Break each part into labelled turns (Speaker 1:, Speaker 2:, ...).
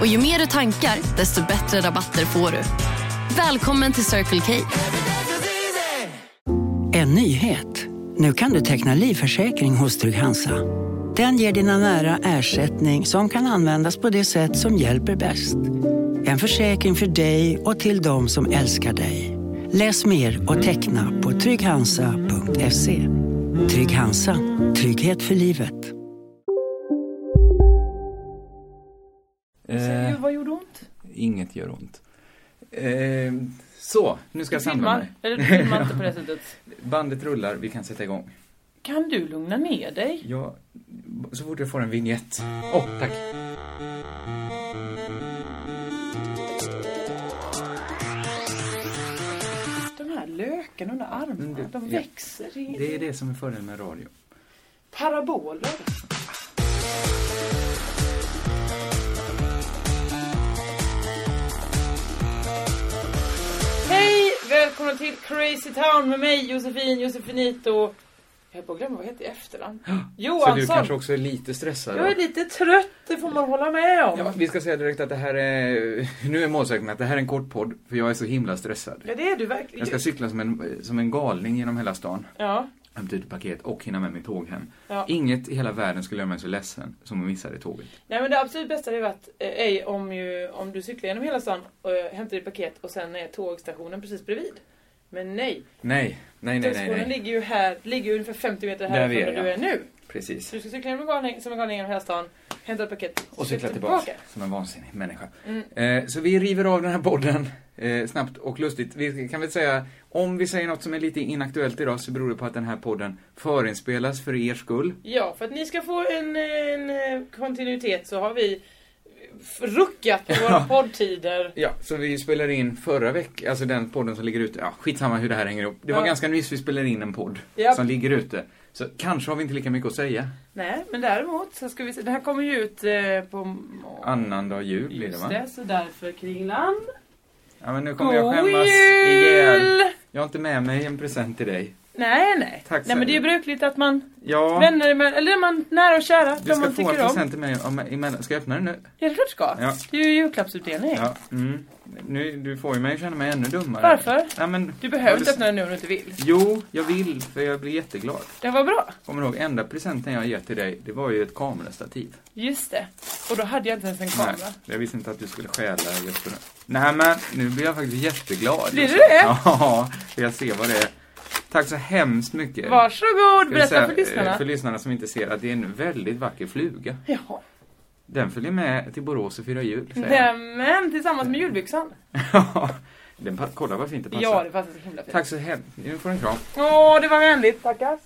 Speaker 1: Och ju mer du tankar, desto bättre rabatter får du. Välkommen till Circle K.
Speaker 2: En nyhet. Nu kan du teckna livförsäkring hos Trygg-Hansa. Den ger dina nära ersättning som kan användas på det sätt som hjälper bäst. En försäkring för dig och till de som älskar dig. Läs mer och teckna på trygghansa.se. Trygg-Hansa. Trygghet för livet.
Speaker 3: Eh,
Speaker 4: Vad gjorde ont?
Speaker 3: inget gör ont. Eh, så, nu ska
Speaker 4: Du
Speaker 3: jag samla mig.
Speaker 4: filmar. Eller du filmar inte på det sättet.
Speaker 3: Bandet rullar, vi kan sätta igång.
Speaker 4: Kan du lugna ner dig?
Speaker 3: Jag, så fort jag får en vignett. Åh, oh, tack.
Speaker 4: De här lökarna under
Speaker 3: Men
Speaker 4: armarna,
Speaker 3: du-
Speaker 4: de
Speaker 3: Mm, ja.
Speaker 4: växer. i-
Speaker 3: Det är det som är fördelen med radio.
Speaker 4: Paraboler. Hej! Välkomna till Crazy Town med mig Josefin Josefinito. Jag höll på att glömma vad jag heter i efternamn.
Speaker 3: Så du
Speaker 4: Johansson.
Speaker 3: kanske också är lite stressad?
Speaker 4: alltså. Jag är
Speaker 3: då?
Speaker 4: lite trött, det får man hålla med om.
Speaker 3: Ja,
Speaker 4: Ja,
Speaker 3: vi ska säga direkt att det här är, nu är målsäganden att det här är en kort podd, för jag är så himla stressad.
Speaker 4: det är du
Speaker 3: Jag ska
Speaker 4: verkligen.
Speaker 3: cykla som en, som en galning genom hela stan,
Speaker 4: Ja,
Speaker 3: hämta ut paket och hinna med mitt tåg hem.
Speaker 4: ja.
Speaker 3: Inget i hela världen skulle göra mig så ledsen som att missa det tåget.
Speaker 4: Nej men det absolut bästa hade varit eh, ej, om, ju, om du cyklar genom hela stan och eh, hämtar ditt paket och sen är tågstationen precis bredvid. Men nej,
Speaker 3: Nej, nej, nej, nej.
Speaker 4: tågstationen
Speaker 3: nej.
Speaker 4: ligger ju här, ligger ju ungefär 50 meter
Speaker 3: Där
Speaker 4: härifrån
Speaker 3: vi är,
Speaker 4: där du
Speaker 3: ja.
Speaker 4: är nu.
Speaker 3: Precis.
Speaker 4: Så du ska cykla genom en galning, som en galning genom hela stan, hämta ett paket
Speaker 3: Och cykla tillbaka.
Speaker 4: tillbaka.
Speaker 3: Som en vansinnig människa.
Speaker 4: Mm.
Speaker 3: Eh, så vi river av den här podden eh, snabbt och lustigt. Vi kan väl säga, om vi säger något som är lite inaktuellt idag så beror det på att den här podden förinspelas för er skull.
Speaker 4: Ja, för att ni ska få en, en eh, kontinuitet så har vi f- ruckat på våra poddtider.
Speaker 3: Ja, så vi spelade in förra veckan, alltså den podden som ligger ute. Ja, skitsamma hur det här hänger ihop. Det var
Speaker 4: Ja.
Speaker 3: ganska nyss vi spelade in en podd
Speaker 4: Japp.
Speaker 3: som ligger ute. Så kanske har vi inte lika mycket att säga.
Speaker 4: Nej, men däremot så ska vi se, det här kommer ju ut eh, på... må-
Speaker 3: Annandag jul blir det
Speaker 4: Just
Speaker 3: va?
Speaker 4: det, så därför Kringlan.
Speaker 3: Ja, men nu kommer jag
Speaker 4: God
Speaker 3: skämmas ihjäl.
Speaker 4: jul!
Speaker 3: Jag har inte med mig en present till dig.
Speaker 4: Nej, nej.
Speaker 3: Tack
Speaker 4: nej men
Speaker 3: Sally.
Speaker 4: det är brukligt att man
Speaker 3: Ja,
Speaker 4: vänner emellan, eller man nära och kära,
Speaker 3: du
Speaker 4: de
Speaker 3: ska
Speaker 4: man
Speaker 3: få en
Speaker 4: tycker om.
Speaker 3: present till mig om, emellan. Ska jag öppna den nu?
Speaker 4: Ja, det är klart du ska.
Speaker 3: Ja.
Speaker 4: Det är ju julklappsutdelning.
Speaker 3: Ja, mm. nu, du får ju mig att känna mig ännu dummare.
Speaker 4: Varför?
Speaker 3: Ja, men,
Speaker 4: Du behöver
Speaker 3: Ja,
Speaker 4: inte
Speaker 3: det-
Speaker 4: öppna den nu om du inte vill.
Speaker 3: Jo, jag vill, för jag blir jätteglad.
Speaker 4: Det var bra.
Speaker 3: Kommer du ihåg, enda presenten jag gett till dig, det var ju ett kamerastativ.
Speaker 4: Just det. Och då hade jag inte ens en kamera.
Speaker 3: Nej, jag visste inte att du skulle stjäla just på det. Nej men, nu blir jag faktiskt jätteglad.
Speaker 4: Blir du det?
Speaker 3: Ja, för jag ser vad det är. Tack så hemskt mycket.
Speaker 4: Varsågod,
Speaker 3: Eh, Ska vi
Speaker 4: berätta
Speaker 3: säga,
Speaker 4: för
Speaker 3: eh,
Speaker 4: lyssnarna.
Speaker 3: För lyssnarna som inte ser att det är en väldigt vacker fluga.
Speaker 4: Ja.
Speaker 3: Den följer med till Borås och firar jul, säger jag.
Speaker 4: Nämen, tillsammans med julbyxan.
Speaker 3: Ja, den pa- kolla Eh, vad fint det passar.
Speaker 4: Ja, det passar så himla fint.
Speaker 3: Tack så hemskt, nu får du en kram.
Speaker 4: Åh, det var vänligt. Tackar.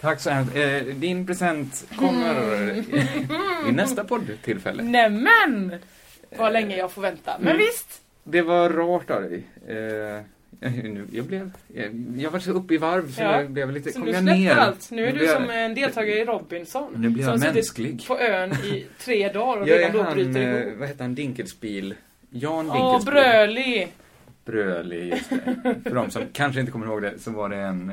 Speaker 3: Tack så hemskt. Eh, din present kommer
Speaker 4: Mm.
Speaker 3: i nästa poddtillfälle.
Speaker 4: Nämen! Vad länge jag får vänta. Men
Speaker 3: Mm.
Speaker 4: visst.
Speaker 3: Det var rart av dig. Eh, nu, jag, blev, eh, jag, jag var så uppe i varv så
Speaker 4: Ja.
Speaker 3: jag blev lite...
Speaker 4: Så
Speaker 3: kom
Speaker 4: nu
Speaker 3: jag
Speaker 4: släpper
Speaker 3: ner.
Speaker 4: allt. Nu är du
Speaker 3: blev-
Speaker 4: som en deltagare i Robinson.
Speaker 3: Nu blir jag
Speaker 4: som suttit
Speaker 3: mänsklig.
Speaker 4: på ön i tre dagar och
Speaker 3: Jag
Speaker 4: redan
Speaker 3: är
Speaker 4: då
Speaker 3: han,
Speaker 4: bryter ihop.
Speaker 3: eh, vad heter han, Dinkelspiel? Jan
Speaker 4: Åh,
Speaker 3: Dinkelspiel.
Speaker 4: Bröli!
Speaker 3: Bröli, just det. För de som kanske inte kommer ihåg det så var det en,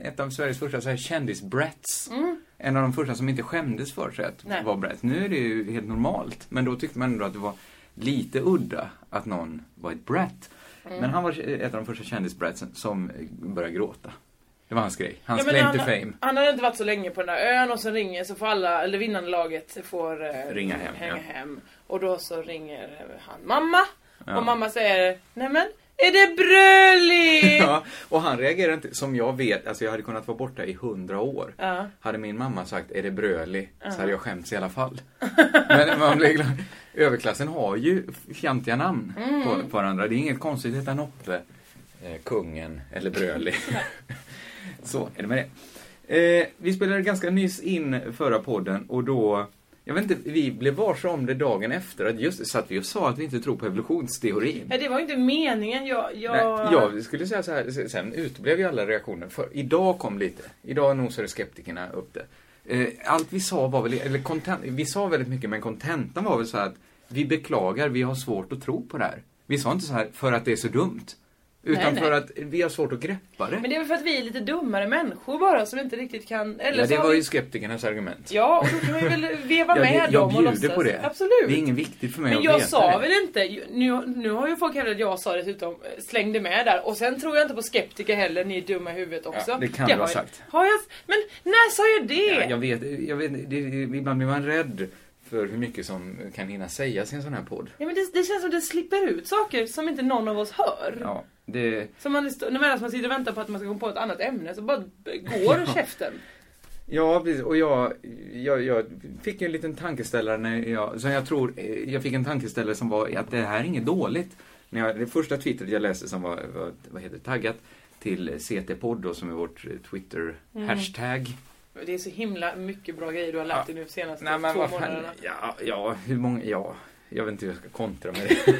Speaker 3: eh, ett av Sveriges första så här kändis-brats. En av de första som inte skämdes för sig att
Speaker 4: Mm. Nej.
Speaker 3: vara brats. Nu är det ju helt normalt. Men då tyckte man ändå att det var lite udda att någon var ett brat.
Speaker 4: Mm.
Speaker 3: Men han var ett av de första kändisbratsen som började gråta. Det var hans grej. Hans
Speaker 4: men
Speaker 3: claim
Speaker 4: han,
Speaker 3: to fame.
Speaker 4: han hade inte varit så länge på den där ön och så ringer så får alla, eller vinnarlaget får eh,
Speaker 3: Ringa hem,
Speaker 4: hänga
Speaker 3: ja.
Speaker 4: hem. Och då så ringer eh, han mamma.
Speaker 3: Ja.
Speaker 4: Och mamma säger Nämen, är det Bröli? ja.
Speaker 3: Ja, och han reagerade inte, som jag vet, alltså jag hade kunnat vara borta i hundra år.
Speaker 4: Ja.
Speaker 3: Hade min mamma sagt, är det bröli? Så hade jag skämts i alla fall. Men man blir glad. Överklassen har ju fjantiga namn på, på varandra. Det är inget konstigt att heta Noppe, eh, Kungen eller Bröli. Så är det med det. Eh, vi spelade ganska nyss in förra podden och då Jag vet inte, vi blev varse om det dagen efter. Att just, satt vi och sa att vi inte tror på evolutionsteorin?
Speaker 4: Nej, det var ju inte meningen. Jag... jag...
Speaker 3: Nej, jag skulle säga så här, sen uteblev ju alla reaktioner. För idag kom lite. Idag nosade skeptikerna upp det. Eh, Allt vi sa var väl, eller content, vi sa väldigt mycket men kontentan var väl så här att vi beklagar, vi har svårt att tro på det här. Vi sa inte så här för att det är så dumt. Utan
Speaker 4: Nej, nej.
Speaker 3: för att vi har svårt att greppa det.
Speaker 4: Men det är väl för att vi är lite dummare människor bara som inte riktigt kan... Eller
Speaker 3: ja,
Speaker 4: så
Speaker 3: det
Speaker 4: har
Speaker 3: var
Speaker 4: vi-
Speaker 3: ju skeptikernas argument.
Speaker 4: Ja, och då kan vi väl veva
Speaker 3: Jag,
Speaker 4: med
Speaker 3: jag,
Speaker 4: dem och
Speaker 3: bjuder
Speaker 4: låtsas.
Speaker 3: på det.
Speaker 4: Absolut.
Speaker 3: Det är inget viktigt för mig
Speaker 4: Men
Speaker 3: att
Speaker 4: jag
Speaker 3: veta
Speaker 4: sa
Speaker 3: det.
Speaker 4: väl inte, nu, nu har ju folk hävdat att jag sa dessutom, eh, slängde med där. Och sen tror jag inte på skeptiker heller, ni är dumma i huvudet också.
Speaker 3: Ja, det kan du ha
Speaker 4: har jag-
Speaker 3: sagt.
Speaker 4: Har jag, men när sa jag det?
Speaker 3: Ja, jag vet, jag vet det, ibland blir man rädd för hur mycket som kan hinna sägas i en sån här podd.
Speaker 4: Ja, men det, det känns som det slipper ut saker som inte någon av oss hör.
Speaker 3: Ja, det,
Speaker 4: Så man, är- när man sitter och väntar på att man ska komma på ett annat ämne så bara b- går käften.
Speaker 3: ja precis. och jag, jag, jag fick ju en liten tankeställare när jag, som jag tror, eh, jag fick en tankeställare som var att det här är inget dåligt. När jag, det första twittret jag läste som var, var vad heter det, taggat till CT-podd då, som är vårt eh,
Speaker 4: Mm.
Speaker 3: Twitter-hashtag.
Speaker 4: Det är så himla mycket bra grejer du har lärt dig nu senaste
Speaker 3: Nej men
Speaker 4: två
Speaker 3: vad fan,
Speaker 4: månaderna.
Speaker 3: ja, ja, hur många, ja. Jag vet inte hur jag ska kontra med det.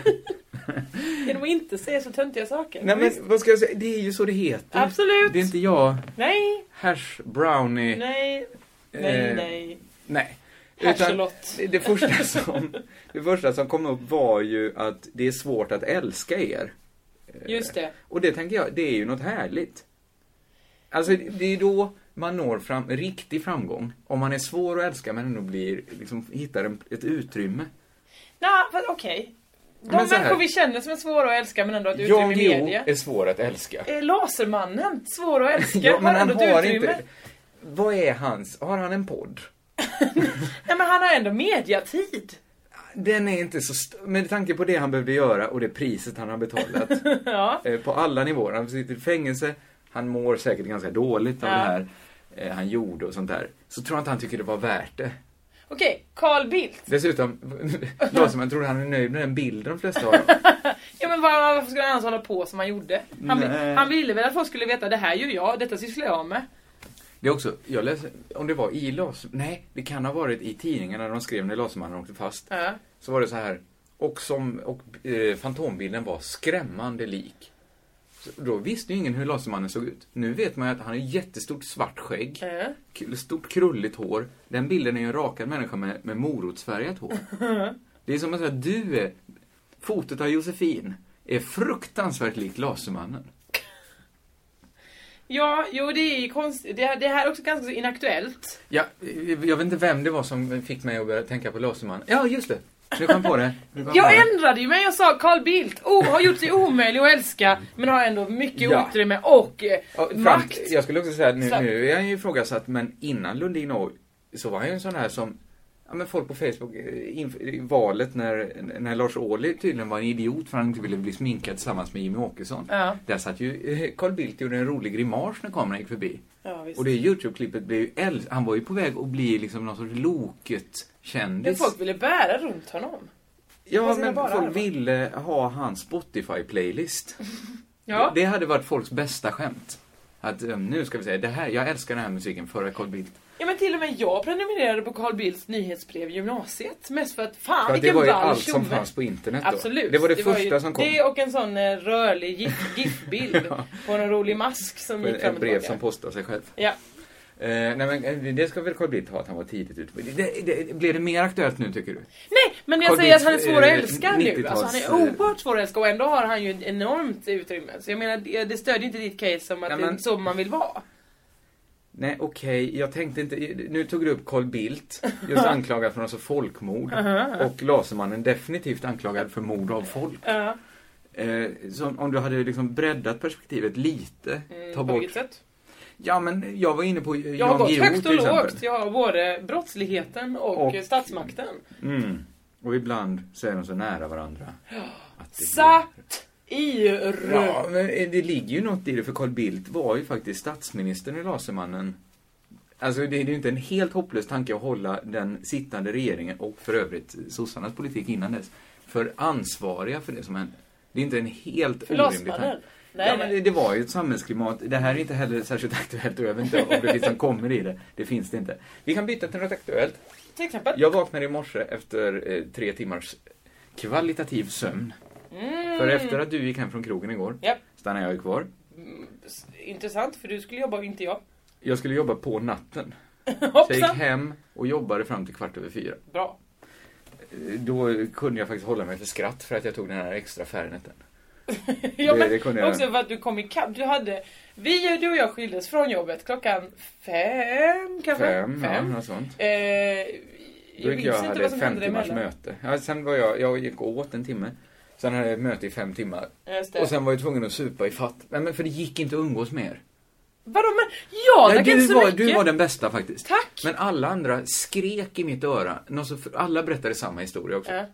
Speaker 4: Genom att inte säga så töntiga saker.
Speaker 3: Nej
Speaker 4: Visst.
Speaker 3: men vad ska jag säga, det är ju så det heter.
Speaker 4: Absolut!
Speaker 3: Det är inte jag,
Speaker 4: Nej,
Speaker 3: hash brownie.
Speaker 4: nej, nej,
Speaker 3: eh,
Speaker 4: nej.
Speaker 3: nej. Utan
Speaker 4: Herselott.
Speaker 3: det, det, första som, det första som kom upp var ju att det är svårt att älska er.
Speaker 4: Just det.
Speaker 3: Och det tänker jag, det är ju något härligt. Alltså det det är då man når fram, riktig framgång. Om man är svår att älska men ändå blir, liksom, hittar en, ett utrymme.
Speaker 4: Nej, fast okej. De
Speaker 3: Men så här.
Speaker 4: människor vi känner som är svåra att älska men ändå har ett utrymme
Speaker 3: Jag
Speaker 4: i
Speaker 3: Guillou
Speaker 4: media.
Speaker 3: är svår att älska.
Speaker 4: Är Lasermannen svår att älska?
Speaker 3: Ja, men han
Speaker 4: ändå ett
Speaker 3: har
Speaker 4: utrymme.
Speaker 3: inte... Vad är hans, har han en podd?
Speaker 4: Nej men han har ändå mediatid.
Speaker 3: Den är inte så st- Med tanke på det han behövde göra och det priset han har betalat.
Speaker 4: Ja.
Speaker 3: eh, på alla nivåer. Han sitter i fängelse, han mår säkert ganska dåligt av
Speaker 4: Ja.
Speaker 3: det här eh, han gjorde och sånt där. Så tror jag inte han tycker det var värt det.
Speaker 4: Okej, Carl Bildt.
Speaker 3: Dessutom, Laserman tror han är nöjd med den bilden de flesta har.
Speaker 4: Ja men var, varför skulle han annars hålla på som han gjorde? Han, vi-
Speaker 3: Nej.
Speaker 4: han ville väl att folk skulle veta det här gör jag, detta sysslar jag med.
Speaker 3: Det är också, jag läser, om det var i Laser... Nej, det kan ha varit i tidningarna när de skrev när Lasermannen åkte fast.
Speaker 4: Ja.
Speaker 3: Så var det så här, och som, och eh, Fantombilden var skrämmande lik. Så då visste ju ingen hur Lasermannen såg ut. Nu vet man ju att han har jättestort svart skägg.
Speaker 4: Ja.
Speaker 3: Kul- stort krulligt hår. Den bilden är ju en rakad människa med, med morotsfärgat hår. Det är som att säga att du är... Fotot av Josefin är fruktansvärt likt Lasermannen.
Speaker 4: Ja, jo det är ju konstigt. Det, här- det här är också ganska så inaktuellt.
Speaker 3: Ja, eh, jag vet inte vem det var som fick mig att börja tänka på Lasermannen. Ja, just det! Nu kom jag på det. Nu kom
Speaker 4: Jag
Speaker 3: på det.
Speaker 4: ändrade ju mig, jag sa Carl Bildt oh, har gjort sig omöjlig att älska men har ändå mycket
Speaker 3: Ja.
Speaker 4: utrymme och eh,
Speaker 3: Ja, fram-
Speaker 4: makt.
Speaker 3: Jag skulle också säga att nu,
Speaker 4: Slapp.
Speaker 3: nu är han ju ifrågasatt, men innan Lundin och så var han ju en sån här som Ja men folk på Facebook, eh, inf- i valet när, när Lars Ohly tydligen var en idiot för han inte ville bli sminkad tillsammans med Jimmy Åkesson.
Speaker 4: Ja.
Speaker 3: Där satt ju eh, Carl Bildt gjorde en rolig grimas när kameran gick förbi.
Speaker 4: Ja, visst.
Speaker 3: och det Youtube-klippet blev ju äl- Han var ju på väg att bli liksom någon sorts
Speaker 4: Men
Speaker 3: Loket-kändis.
Speaker 4: folk ville bära runt honom. på
Speaker 3: ja
Speaker 4: sina
Speaker 3: men
Speaker 4: bara armar.
Speaker 3: folk ville ha hans Spotify-playlist.
Speaker 4: Ja.
Speaker 3: Det hade varit folks bästa skämt. Att eh, nu ska vi säga, det här, jag älskar den här musiken före Carl Bildt.
Speaker 4: ja men till och med jag prenumererade på Carl Bildts nyhetsbrev i gymnasiet. Mest för att fan
Speaker 3: Ja, det
Speaker 4: vilken
Speaker 3: var ju
Speaker 4: ball
Speaker 3: allt som
Speaker 4: tjomme.
Speaker 3: fanns på internet då.
Speaker 4: Absolut.
Speaker 3: Det var det,
Speaker 4: ju
Speaker 3: första som kom.
Speaker 4: Det och en sån eh, rörlig gif- GIF-bild på en rolig mask som gick fram
Speaker 3: Ett
Speaker 4: och
Speaker 3: brev
Speaker 4: tillbaka.
Speaker 3: som postar sig själv.
Speaker 4: Ja.
Speaker 3: Eh, nej men eh, det ska väl Carl Bildt ha, att han var tidigt ute. Det, det, det, blev det mer aktuellt nu tycker du?
Speaker 4: Nej, men jag
Speaker 3: Carl
Speaker 4: säger att
Speaker 3: Bildts,
Speaker 4: han är svår att
Speaker 3: eh,
Speaker 4: älska nu. Alltså, han
Speaker 3: 90-tals,
Speaker 4: är oerhört svår att älska och ändå har han ju ett enormt utrymme. Så jag menar, det det stödjer inte ditt case som att
Speaker 3: Nej,
Speaker 4: det är
Speaker 3: men-
Speaker 4: så man vill vara.
Speaker 3: Nej okej, jag tänkte inte, nu tog du upp Carl Bildt, just anklagad för något så folkmord. Och Lasermannen definitivt anklagad för mord av folk.
Speaker 4: Ja.
Speaker 3: Eh, så om du hade liksom breddat perspektivet lite, ta
Speaker 4: på
Speaker 3: bort
Speaker 4: vilket sätt?
Speaker 3: Ja, men jag var inne på eh, Jan
Speaker 4: Jag har gått
Speaker 3: Guillou,
Speaker 4: högt och
Speaker 3: till exempel.
Speaker 4: lågt. Jag har både brottsligheten och,
Speaker 3: Och-
Speaker 4: eh, statsmakten.
Speaker 3: Mm. Och ibland så är de så nära varandra. Att det blir-
Speaker 4: Satt i rör.
Speaker 3: Ja, men eh, det ligger ju något i det, för Carl Bildt var ju faktiskt statsministern i Lasermannen. Alltså det det är ju inte en helt hopplös tanke att hålla den sittande regeringen och för övrigt sossarnas politik innan dess för ansvariga för det som hände. Det är inte en helt
Speaker 4: För
Speaker 3: orimlig
Speaker 4: Lasermannen?
Speaker 3: tanke.
Speaker 4: Nej,
Speaker 3: ja, men
Speaker 4: nej.
Speaker 3: det, det var ju ett samhällsklimat. Det här är inte heller särskilt aktuellt och jag vet inte om det finns som kommer i det. Det finns det inte. Vi kan byta till något aktuellt.
Speaker 4: till exempel.
Speaker 3: Jag vaknade i morse efter eh, tre timmars kvalitativ sömn.
Speaker 4: Mm.
Speaker 3: För efter att du gick hem från krogen igår
Speaker 4: Japp.
Speaker 3: stannade jag ju kvar.
Speaker 4: Mm, s- Intressant, för du skulle jobba och inte jag.
Speaker 3: Jag skulle jobba på natten. Så jag gick
Speaker 4: Hoppsan!
Speaker 3: hem och jobbade fram till kvart över fyra.
Speaker 4: Bra.
Speaker 3: Eh, Då kunde jag faktiskt hålla mig för skratt för att jag tog den här extra färgnetten.
Speaker 4: Ja,
Speaker 3: Det-
Speaker 4: men
Speaker 3: det kunde jag.
Speaker 4: Också för att du kom ikapp. Du hade... Vi, du och jag skildes från jobbet klockan fem kanske?
Speaker 3: Fem, ja, något sånt.
Speaker 4: Eh,
Speaker 3: Då
Speaker 4: jag
Speaker 3: gick
Speaker 4: minns
Speaker 3: jag och
Speaker 4: inte
Speaker 3: hade
Speaker 4: vad
Speaker 3: ett
Speaker 4: som
Speaker 3: fem
Speaker 4: hände
Speaker 3: timmars
Speaker 4: emellan.
Speaker 3: möte. Ja, sen var jag, jag gick åt en timme. Sen hade jag ett möte i fem timmar.
Speaker 4: Just det.
Speaker 3: Och sen var jag tvungen att supa i fatt. Nej men för det gick inte att umgås mer.
Speaker 4: Vadå men? Ja,
Speaker 3: Nej,
Speaker 4: tack inte
Speaker 3: du,
Speaker 4: så
Speaker 3: var,
Speaker 4: mycket!
Speaker 3: du var den bästa faktiskt.
Speaker 4: Tack!
Speaker 3: Men alla andra skrek i mitt öra. Någon så- Alla berättade samma historia också.
Speaker 4: Ja.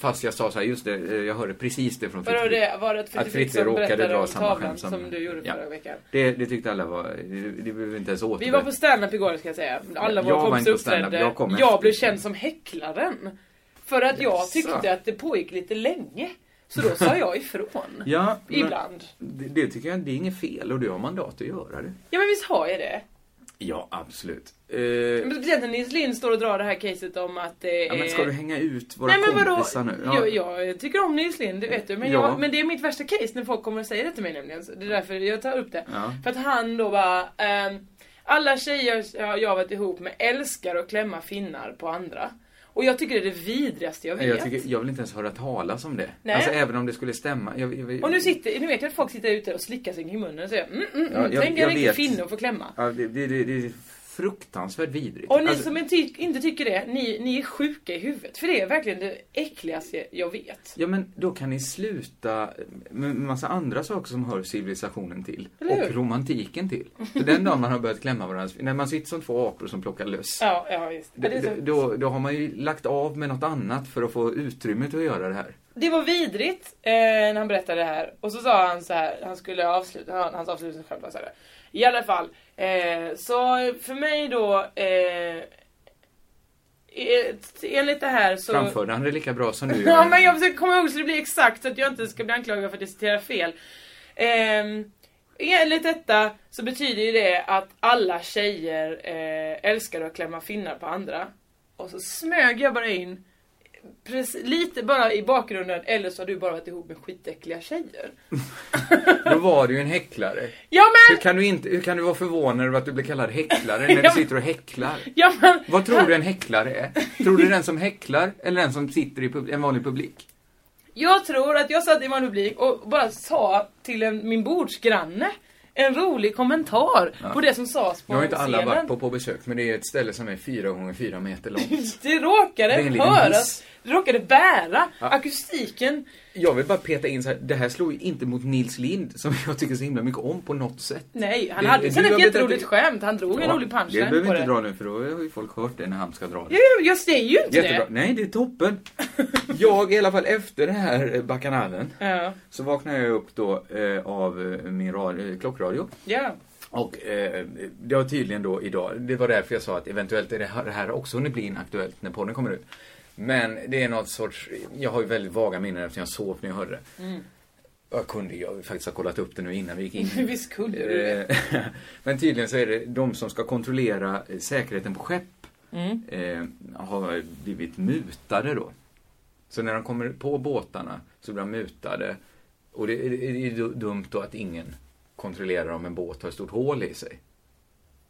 Speaker 3: Fast jag sa så här, just det, eh, jag hörde precis det från
Speaker 4: Vadå
Speaker 3: Fritz.
Speaker 4: det? Var det att Fritte
Speaker 3: Att Fritte
Speaker 4: Fritzson
Speaker 3: råkade
Speaker 4: berättade
Speaker 3: dra
Speaker 4: om
Speaker 3: samma
Speaker 4: tavlan
Speaker 3: skämt
Speaker 4: som,
Speaker 3: som-
Speaker 4: du gjorde
Speaker 3: Ja.
Speaker 4: förra veckan?
Speaker 3: det, det tyckte alla var, det, det behöver vi inte ens återberätta.
Speaker 4: Vi var på standup igår ska jag säga. Alla
Speaker 3: Jag
Speaker 4: våra
Speaker 3: var
Speaker 4: kompisar
Speaker 3: inte på standup,
Speaker 4: uppträdde.
Speaker 3: jag kom
Speaker 4: Jag,
Speaker 3: efter.
Speaker 4: blev känd som häcklaren. För att jag
Speaker 3: Jaså.
Speaker 4: tyckte att det pågick lite länge. Så då sa jag ifrån.
Speaker 3: Ja, men
Speaker 4: Ibland.
Speaker 3: Det, det tycker jag, det är inget fel och du har mandat att göra det.
Speaker 4: Ja men visst har jag det?
Speaker 3: Ja, absolut. Eh,
Speaker 4: Men speciellt när Nils Lind står och drar det här caset om att det
Speaker 3: ja, men ska du hänga ut våra
Speaker 4: Nej men vadå?
Speaker 3: kompisar nu?
Speaker 4: Jag, jag tycker om Nils Lind, det vet du. Men,
Speaker 3: Ja.
Speaker 4: jag, men det är mitt värsta case när folk kommer och säger det till mig nämligen. Så Det är därför jag tar upp det.
Speaker 3: Ja.
Speaker 4: För att han då bara... ehm, alla tjejer jag jag har varit ihop med älskar att klämma finnar på andra. Och jag tycker det är det vidrigaste jag
Speaker 3: Nej,
Speaker 4: vet.
Speaker 3: jag, tycker, jag vill inte ens höra talas om det.
Speaker 4: Nej.
Speaker 3: Alltså även om det skulle stämma. Jag, jag,
Speaker 4: Och nu, sitter, nu vet jag att folk sitter ute och slickar sig i munnen och säger mm, mm,
Speaker 3: Ja,
Speaker 4: mm.
Speaker 3: jag-
Speaker 4: Tänk
Speaker 3: jag
Speaker 4: en riktig
Speaker 3: vet.
Speaker 4: finne och få klämma.
Speaker 3: ja, det, det, det, det är fruktansvärt vidrigt.
Speaker 4: Och ni
Speaker 3: Alltså,
Speaker 4: som inte, inte tycker det, ni, ni är sjuka i huvudet. För det är verkligen det äckligaste jag vet.
Speaker 3: Ja men då kan ni sluta med massa andra saker som hör civilisationen till.
Speaker 4: Eller hur?
Speaker 3: Och romantiken till. För den dagen man har börjat klämma varandra, när man sitter som två apor som plockar löss.
Speaker 4: Ja, ja visst. Ja, det, är
Speaker 3: d-
Speaker 4: så
Speaker 3: d- Då, då har man ju lagt av med något annat för att få utrymme till att göra det här.
Speaker 4: Det var vidrigt eh, när han berättade det här. Och så sa han så här, han skulle avsluta, han- hans avslutningsskämt var så här. I alla fall, eh, så för mig då, eh, ett- enligt det här så...
Speaker 3: Framförde han det lika bra som du
Speaker 4: Ja men jag försöker komma ihåg så det blir exakt så att jag inte ska bli anklagad för att jag citerar fel. Ehm, enligt detta så betyder ju det att alla tjejer eh, älskar att klämma finnar på andra. Och så smög jag bara in preci- lite bara i bakgrunden eller så har du bara varit ihop med skitäckliga tjejer.
Speaker 3: Då var du ju en häcklare.
Speaker 4: Ja
Speaker 3: Hur
Speaker 4: men!
Speaker 3: kan du, inte, hur kan du vara förvånad över att du blir kallad häcklare när
Speaker 4: Ja,
Speaker 3: du
Speaker 4: men-
Speaker 3: sitter och häcklar?
Speaker 4: Ja men!
Speaker 3: Vad tror du en häcklare är? Tror du den som häcklar eller den som sitter i pub- en vanlig publik?
Speaker 4: Jag tror att jag satt i min publik och bara sa till en, min bordsgranne en rolig kommentar på det som sades på
Speaker 3: Nu har inte alla
Speaker 4: scenen.
Speaker 3: varit på, på besök, men det är ett ställe som är fyra gånger fyra meter långt.
Speaker 4: Det
Speaker 3: Det är
Speaker 4: råkade
Speaker 3: en liten
Speaker 4: höras,
Speaker 3: hiss.
Speaker 4: det råkade bära
Speaker 3: Ja.
Speaker 4: akustiken.
Speaker 3: Jag vill bara peta in så här, det här slår ju inte mot Nils Lind, som jag tycker så himla mycket om på något sätt.
Speaker 4: Nej, han
Speaker 3: Det-
Speaker 4: hade
Speaker 3: det-
Speaker 4: sen
Speaker 3: du
Speaker 4: ett
Speaker 3: har
Speaker 4: jätteroligt
Speaker 3: berättat-
Speaker 4: skämt. Han drog en rolig
Speaker 3: det
Speaker 4: punchline
Speaker 3: behöver
Speaker 4: på
Speaker 3: vi
Speaker 4: det.
Speaker 3: inte dra nu, för då har ju folk hört det när han ska dra det.
Speaker 4: Ja, ja, jag säger ju inte
Speaker 3: Jättebra. Nej, det är toppen. Jag, i alla fall efter den här eh, bakanalen,
Speaker 4: det. Ja,
Speaker 3: så vaknade jag upp då eh, av eh, min radio, eh, klockradio.
Speaker 4: ja.
Speaker 3: Och eh, det har tydligen då idag, det var därför jag sa att eventuellt är det här, det här har också hunnit bli inaktuellt när podden kommer ut. Men det är något sorts, jag har ju väldigt vaga minnen eftersom jag sov när jag hörde det.
Speaker 4: Mm.
Speaker 3: Jag kunde ju faktiskt ha kollat upp det nu innan vi gick in.
Speaker 4: Visst kunde du det.
Speaker 3: Eh, Men tydligen så är det de som ska kontrollera eh, säkerheten på skepp
Speaker 4: Mm.
Speaker 3: eh, har blivit mutade då. Så när de kommer på båtarna så blir de mutade. Och det är, det är ju du- dumt då att ingen kontrollerar om en båt har ett stort hål i sig.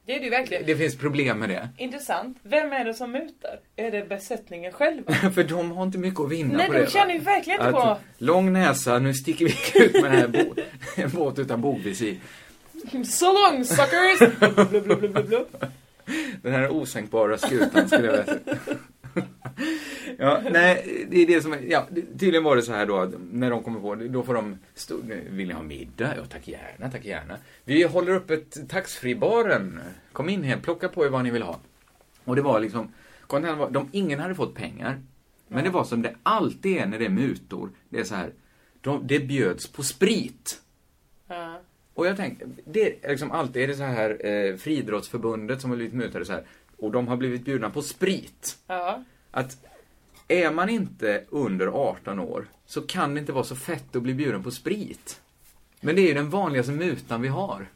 Speaker 4: Det är det ju verkligen.
Speaker 3: Det finns problem med det.
Speaker 4: Intressant. Vem är det som mutar? Är det besättningen själva?
Speaker 3: För de har inte mycket att vinna
Speaker 4: Nej,
Speaker 3: på
Speaker 4: de
Speaker 3: det.
Speaker 4: känner ju verkligen inte på...
Speaker 3: Att, lång näsa, nu sticker vi ut med den här bo- en båt utan bogvisir.
Speaker 4: So long suckers! Blub, blub, blub, blub, blub.
Speaker 3: Den här osänkbara skutan skulle jag vilja säga. Ja, nej, det är det som är, ja, det- tydligen var det så här då att när de kommer på det, då får de, stå, nu vill ni ha middag? Ja, tack gärna, tack gärna. Vi håller upp ett taxfree-baren. Kom in här, plocka på er vad ni vill ha. Och det var liksom, kontentan var, de, ingen hade fått pengar. Men det var som det alltid är när det är mutor, det är så här, de, det bjöds på sprit.
Speaker 4: Ja.
Speaker 3: Och jag tänkte, det är liksom alltid är det så här eh, Friidrottsförbundet som har blivit mutade så här och de har blivit bjudna på sprit.
Speaker 4: Ja.
Speaker 3: Att är man inte under 18 år så kan det inte vara så fett att bli bjuden på sprit. Men det är ju den vanligaste mutan vi har.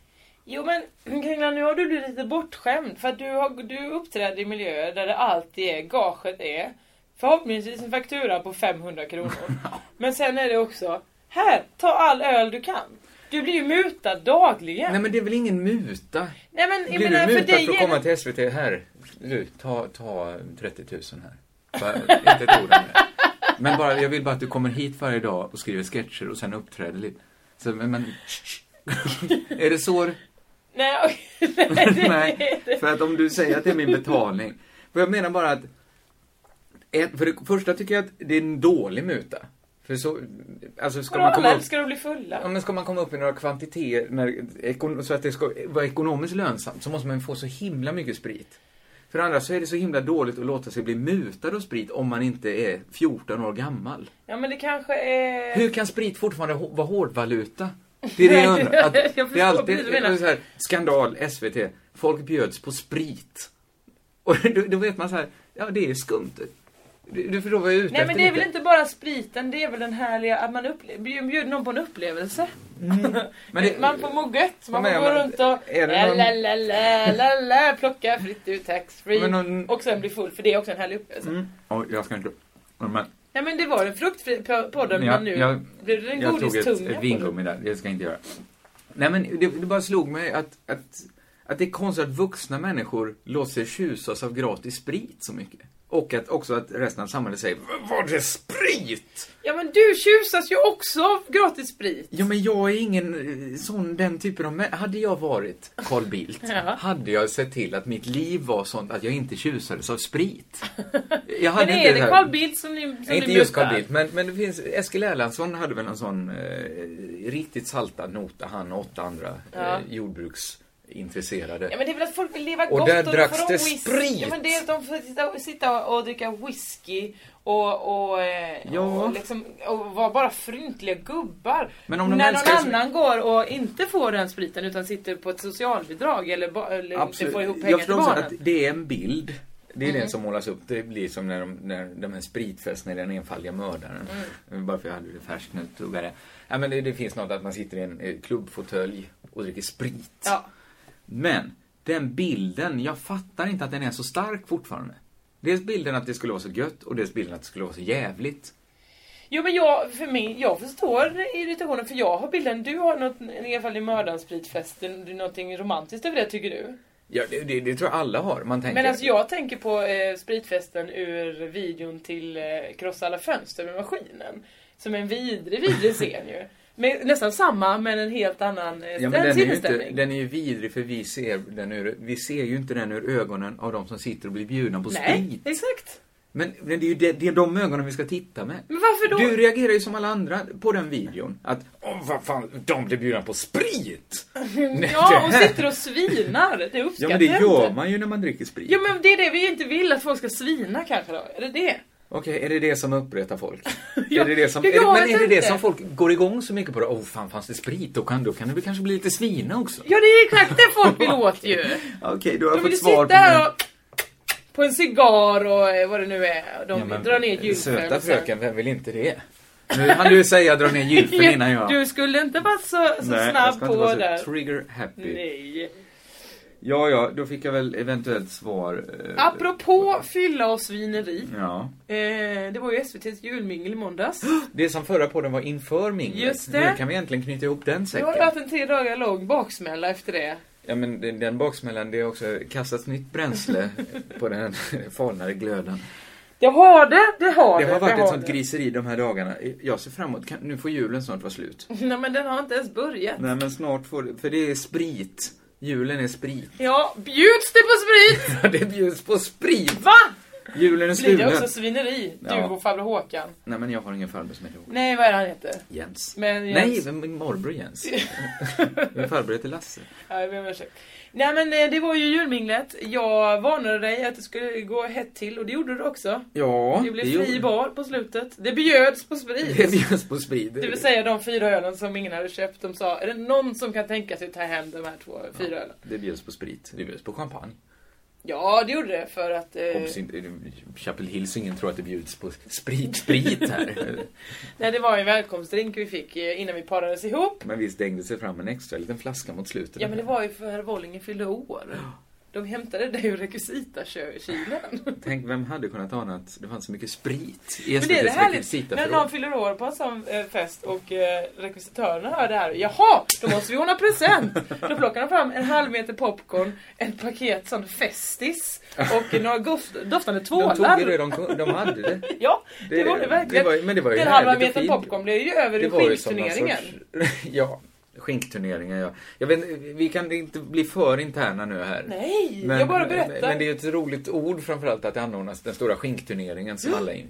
Speaker 4: Jo men Kringla, nu har du blivit lite bortskämd för att du, har, du uppträder i miljöer där det alltid är, gaget är förhoppningsvis en faktura på 500 kronor. Men sen är det också, här, ta all öl du kan. Du blir ju mutad dagligen.
Speaker 3: Nej men det är väl ingen muta?
Speaker 4: Nej, men, jag
Speaker 3: Blir
Speaker 4: menar,
Speaker 3: du
Speaker 4: för
Speaker 3: mutad
Speaker 4: dig
Speaker 3: för att
Speaker 4: är
Speaker 3: komma
Speaker 4: det-
Speaker 3: till SVT? Här, du, ta, ta 30 000 här. Bara, inte ett ord om det. Men bara, jag vill bara att du kommer hit varje dag och skriver sketcher och sen uppträder lite. Så, men, men, är det så?
Speaker 4: Nej, okej, nej, det-
Speaker 3: Nej, för att om du säger att det är min betalning. För jag menar bara att, ett, för det första tycker jag att det är en dålig muta. För så, alltså ska
Speaker 4: Vadå,
Speaker 3: man
Speaker 4: alla
Speaker 3: komma upp...
Speaker 4: älskar att bli
Speaker 3: Ja,
Speaker 4: fulla.
Speaker 3: men ska man komma upp i några kvantiteter när, ekon- så att det ska vara ekonomiskt lönsamt så måste man ju få så himla mycket sprit. För det andra så är det så himla dåligt att låta sig bli mutad av sprit om man inte är 14 år gammal.
Speaker 4: Ja men det kanske är...
Speaker 3: Hur kan sprit fortfarande hå- vara hårdvaluta? Det är det jag undrar. Att
Speaker 4: Jag förstår
Speaker 3: det är
Speaker 4: precis
Speaker 3: alltid
Speaker 4: vad du menar.
Speaker 3: så här, skandal, SVT, folk bjöds på sprit. Och då, då vet man så här, ja det är skumt. Du, du förstår vad jag är ute
Speaker 4: Nej
Speaker 3: efter
Speaker 4: men det är
Speaker 3: lite.
Speaker 4: väl inte bara spriten, det är väl den härliga att man upple- bjud- bjuder någon på en upplevelse.
Speaker 3: Men det-
Speaker 4: man får må gött, man
Speaker 3: men-
Speaker 4: får gå
Speaker 3: men-
Speaker 4: runt och
Speaker 3: är det
Speaker 4: la,
Speaker 3: någon-
Speaker 4: la, la, la, la, la, plocka fritt ur taxfree
Speaker 3: Men någon-
Speaker 4: och sen bli full för det är också en härlig upplevelse.
Speaker 3: Mm. Oj, jag ska inte... Men,
Speaker 4: Nej men det var en fruktfri po- podd men
Speaker 3: Jag-
Speaker 4: nu
Speaker 3: jag-
Speaker 4: blev det en
Speaker 3: Jag tog ett,
Speaker 4: godistunga.
Speaker 3: ett
Speaker 4: på den.
Speaker 3: vingummi där, det ska jag inte göra. Nej men det, det bara slog mig att, att, att det är konstigt att vuxna människor låter sig tjusas av gratis sprit så mycket. Och att också att resten av samhället säger "Vad Var det sprit?
Speaker 4: Ja men du tjusas ju också av gratis sprit.
Speaker 3: Ja men jag är ingen eh, sån, den typen av människa. Hade jag varit Carl Bildt,
Speaker 4: Ja.
Speaker 3: hade jag sett till att mitt liv var sånt att jag inte tjusades av sprit. Jag hade
Speaker 4: Men är det
Speaker 3: här-
Speaker 4: Carl Bildt som ni som
Speaker 3: Nej, inte
Speaker 4: ni
Speaker 3: just Carl
Speaker 4: mutar?
Speaker 3: Bildt, men, men det finns, Eskil Erlandsson hade väl en sån eh, riktigt saltad nota, han och åtta andra
Speaker 4: Ja.
Speaker 3: eh, jordbruksintresserade.
Speaker 4: Ja men det är väl att folk vill leva
Speaker 3: Och
Speaker 4: gott
Speaker 3: där
Speaker 4: då
Speaker 3: dracks
Speaker 4: får de
Speaker 3: det
Speaker 4: whisky.
Speaker 3: sprit.
Speaker 4: Ja, men det är att de får sitta, sitta och dricka whisky och, och, eh,
Speaker 3: Ja.
Speaker 4: och, liksom, och vara bara fryntliga gubbar.
Speaker 3: Men om de
Speaker 4: När någon
Speaker 3: älskar-
Speaker 4: annan går och inte får den spriten utan sitter på ett socialbidrag eller, ba, eller inte får ihop pengar
Speaker 3: Jag
Speaker 4: till
Speaker 3: förstår också
Speaker 4: barnen. Mm.
Speaker 3: att det är en bild. Det är den som målas upp. Det blir som när de, när de här spritfesterna i Den enfaldiga mördaren.
Speaker 4: Mm.
Speaker 3: Bara för jag hade det färskt nu tog jag det. Ja, men det, det finns något att man sitter i en eh, klubbfåtölj och dricker sprit.
Speaker 4: Ja.
Speaker 3: Men den bilden, jag fattar inte att den är så stark fortfarande. Dels bilden att det skulle vara så gött och dels bilden att det skulle vara så jävligt.
Speaker 4: Jo men jag, för mig, jag förstår irritationen för jag har bilden, du har något, i alla fall i mördarspritfesten, det är någonting romantiskt över det tycker du?
Speaker 3: Ja, det, det, det tror jag alla har. Man tänker...
Speaker 4: Men alltså jag tänker på eh, spritfesten ur videon till eh, Krossa alla fönster med maskinen. Som en vidrig, vidrig scen ju. Med, nästan samma men en helt annan eh,
Speaker 3: Ja, men
Speaker 4: den
Speaker 3: den, är ju inte,
Speaker 4: sinnesstämning.
Speaker 3: den är ju vidrig för vi ser, den ur, vi ser ju inte den ur ögonen av de som sitter och blir bjudna på
Speaker 4: Nej,
Speaker 3: sprit.
Speaker 4: exakt.
Speaker 3: Men, men det är ju det, det är de ögonen vi ska titta med.
Speaker 4: Men varför då?
Speaker 3: Du reagerar ju som alla andra på den videon. Att, åh vad fan, de blir bjudna på sprit! Nej, det
Speaker 4: Ja, och
Speaker 3: här-
Speaker 4: sitter och svinar. Det uppskattar
Speaker 3: Ja men det
Speaker 4: jag
Speaker 3: gör
Speaker 4: inte.
Speaker 3: man ju när man dricker sprit.
Speaker 4: Ja men det är det vi inte vill, att folk ska svina kanske då. Är det det?
Speaker 3: Okej, är det det som upprättar folk?
Speaker 4: Ja,
Speaker 3: är det det som,
Speaker 4: det
Speaker 3: är det,
Speaker 4: går
Speaker 3: men är det
Speaker 4: inte.
Speaker 3: det som folk går igång så mycket på? Då? Oh, fan, fanns det sprit? Då kan, då kan det väl kanske bli lite svina också?
Speaker 4: Ja det är exakt det folk vill åt ju.
Speaker 3: Okej, då har
Speaker 4: De
Speaker 3: jag
Speaker 4: vill ju
Speaker 3: fått svar
Speaker 4: sitta här
Speaker 3: på
Speaker 4: och... På en cigarr och eh, vad det nu är. De
Speaker 3: min...
Speaker 4: drar ner gylfen.
Speaker 3: Söta
Speaker 4: och sen-
Speaker 3: fröken, vem vill inte det? Nu hann du säga dra ner gylfen innan jag...
Speaker 4: Du skulle inte vara så, så
Speaker 3: Nej, jag
Speaker 4: snabb
Speaker 3: ska
Speaker 4: på
Speaker 3: inte vara så
Speaker 4: där.
Speaker 3: trigger happy.
Speaker 4: Nej.
Speaker 3: Ja, ja, då fick jag väl eventuellt svar. Eh,
Speaker 4: Apropå fylla och svineri.
Speaker 3: Ja.
Speaker 4: Eh, det var ju SVT's julmingel i måndags.
Speaker 3: Det som förra podden var inför minglet.
Speaker 4: Just det.
Speaker 3: Nu kan vi äntligen knyta ihop den
Speaker 4: Jag har
Speaker 3: säcken.
Speaker 4: jag haft en tre dagar lång baksmälla efter det.
Speaker 3: Ja men den, den baksmällan, det har också kastats nytt bränsle på den falnare glöden.
Speaker 4: Det har det, det har det.
Speaker 3: Det har varit ett sånt
Speaker 4: det.
Speaker 3: griseri de här dagarna. Jag ser fram emot, kan, nu får julen snart vara slut.
Speaker 4: Nej men den har inte ens börjat.
Speaker 3: Nej men snart får det, för det är sprit. Julen är sprit.
Speaker 4: Ja, bjuds det på sprit?
Speaker 3: det bjuds på sprit!
Speaker 4: Va?
Speaker 3: Julen är
Speaker 4: Blir det
Speaker 3: stulen.
Speaker 4: också svineri? Du
Speaker 3: Ja.
Speaker 4: och farbror Håkan.
Speaker 3: Nej men jag har ingen farbror som heter
Speaker 4: Nej, vad är det han heter?
Speaker 3: Jens.
Speaker 4: Men Jens-
Speaker 3: Nej, men min morbror Jens. min farbror heter Lasse.
Speaker 4: Ja, jag ber om ursäkt. Nej men eh, det var ju julminglet. Jag varnade dig att det skulle gå hett till och det gjorde du också.
Speaker 3: Ja,
Speaker 4: Det blev
Speaker 3: gjorde-
Speaker 4: fri bar på slutet. Det bjöds på sprit.
Speaker 3: Det bjuds på sprit.
Speaker 4: Det vill säga de fyra ölen som ingen hade köpt. De sa, är det någon som kan tänka sig att ta hem de här två, fyra ölen?
Speaker 3: Det bjuds på sprit. Det bjuds på champagne.
Speaker 4: Ja, det gjorde det för att... Eh,
Speaker 3: Hoppas inte, Chapel Hills ingen tror att det bjuds på sprit, sprit här.
Speaker 4: nej, det var ju en välkomstdrink vi fick eh, innan vi parades ihop.
Speaker 3: men visst dängde sig fram en extra liten flaska mot slutet.
Speaker 4: Ja, men det var ju för herr Wollinger fyllde år. De hämtade dig ur rekvisitakylen.
Speaker 3: Tänk, vem hade kunnat ana att det fanns så mycket sprit i
Speaker 4: Men det är det
Speaker 3: SVTs
Speaker 4: härligt när någon
Speaker 3: rekvisitaförråd?
Speaker 4: fyller år på en sån eh, fest och eh, rekvisitörerna hör det här. Jaha, då måste vi ordna present! Då plockar de fram en halv meter popcorn, ett paket sån Festis och några gof- doftande
Speaker 3: De tog ju det
Speaker 4: tvålar.
Speaker 3: de, kunde- de hade. Det,
Speaker 4: Ja, det, var det verkligen.
Speaker 3: det var ju- men det var ju
Speaker 4: Den halva
Speaker 3: härligt och
Speaker 4: metern
Speaker 3: fint.
Speaker 4: popcorn blev ju över i
Speaker 3: var ju som någon
Speaker 4: skinkturneringen.
Speaker 3: sorts- ja, skinkturneringen ja. Jag vet, inte, vi kan inte bli för interna nu här.
Speaker 4: Nej, jag bara berättar.
Speaker 3: Men det är ju ett roligt ord framförallt att det anordnas den stora skinkturneringen som alla är in.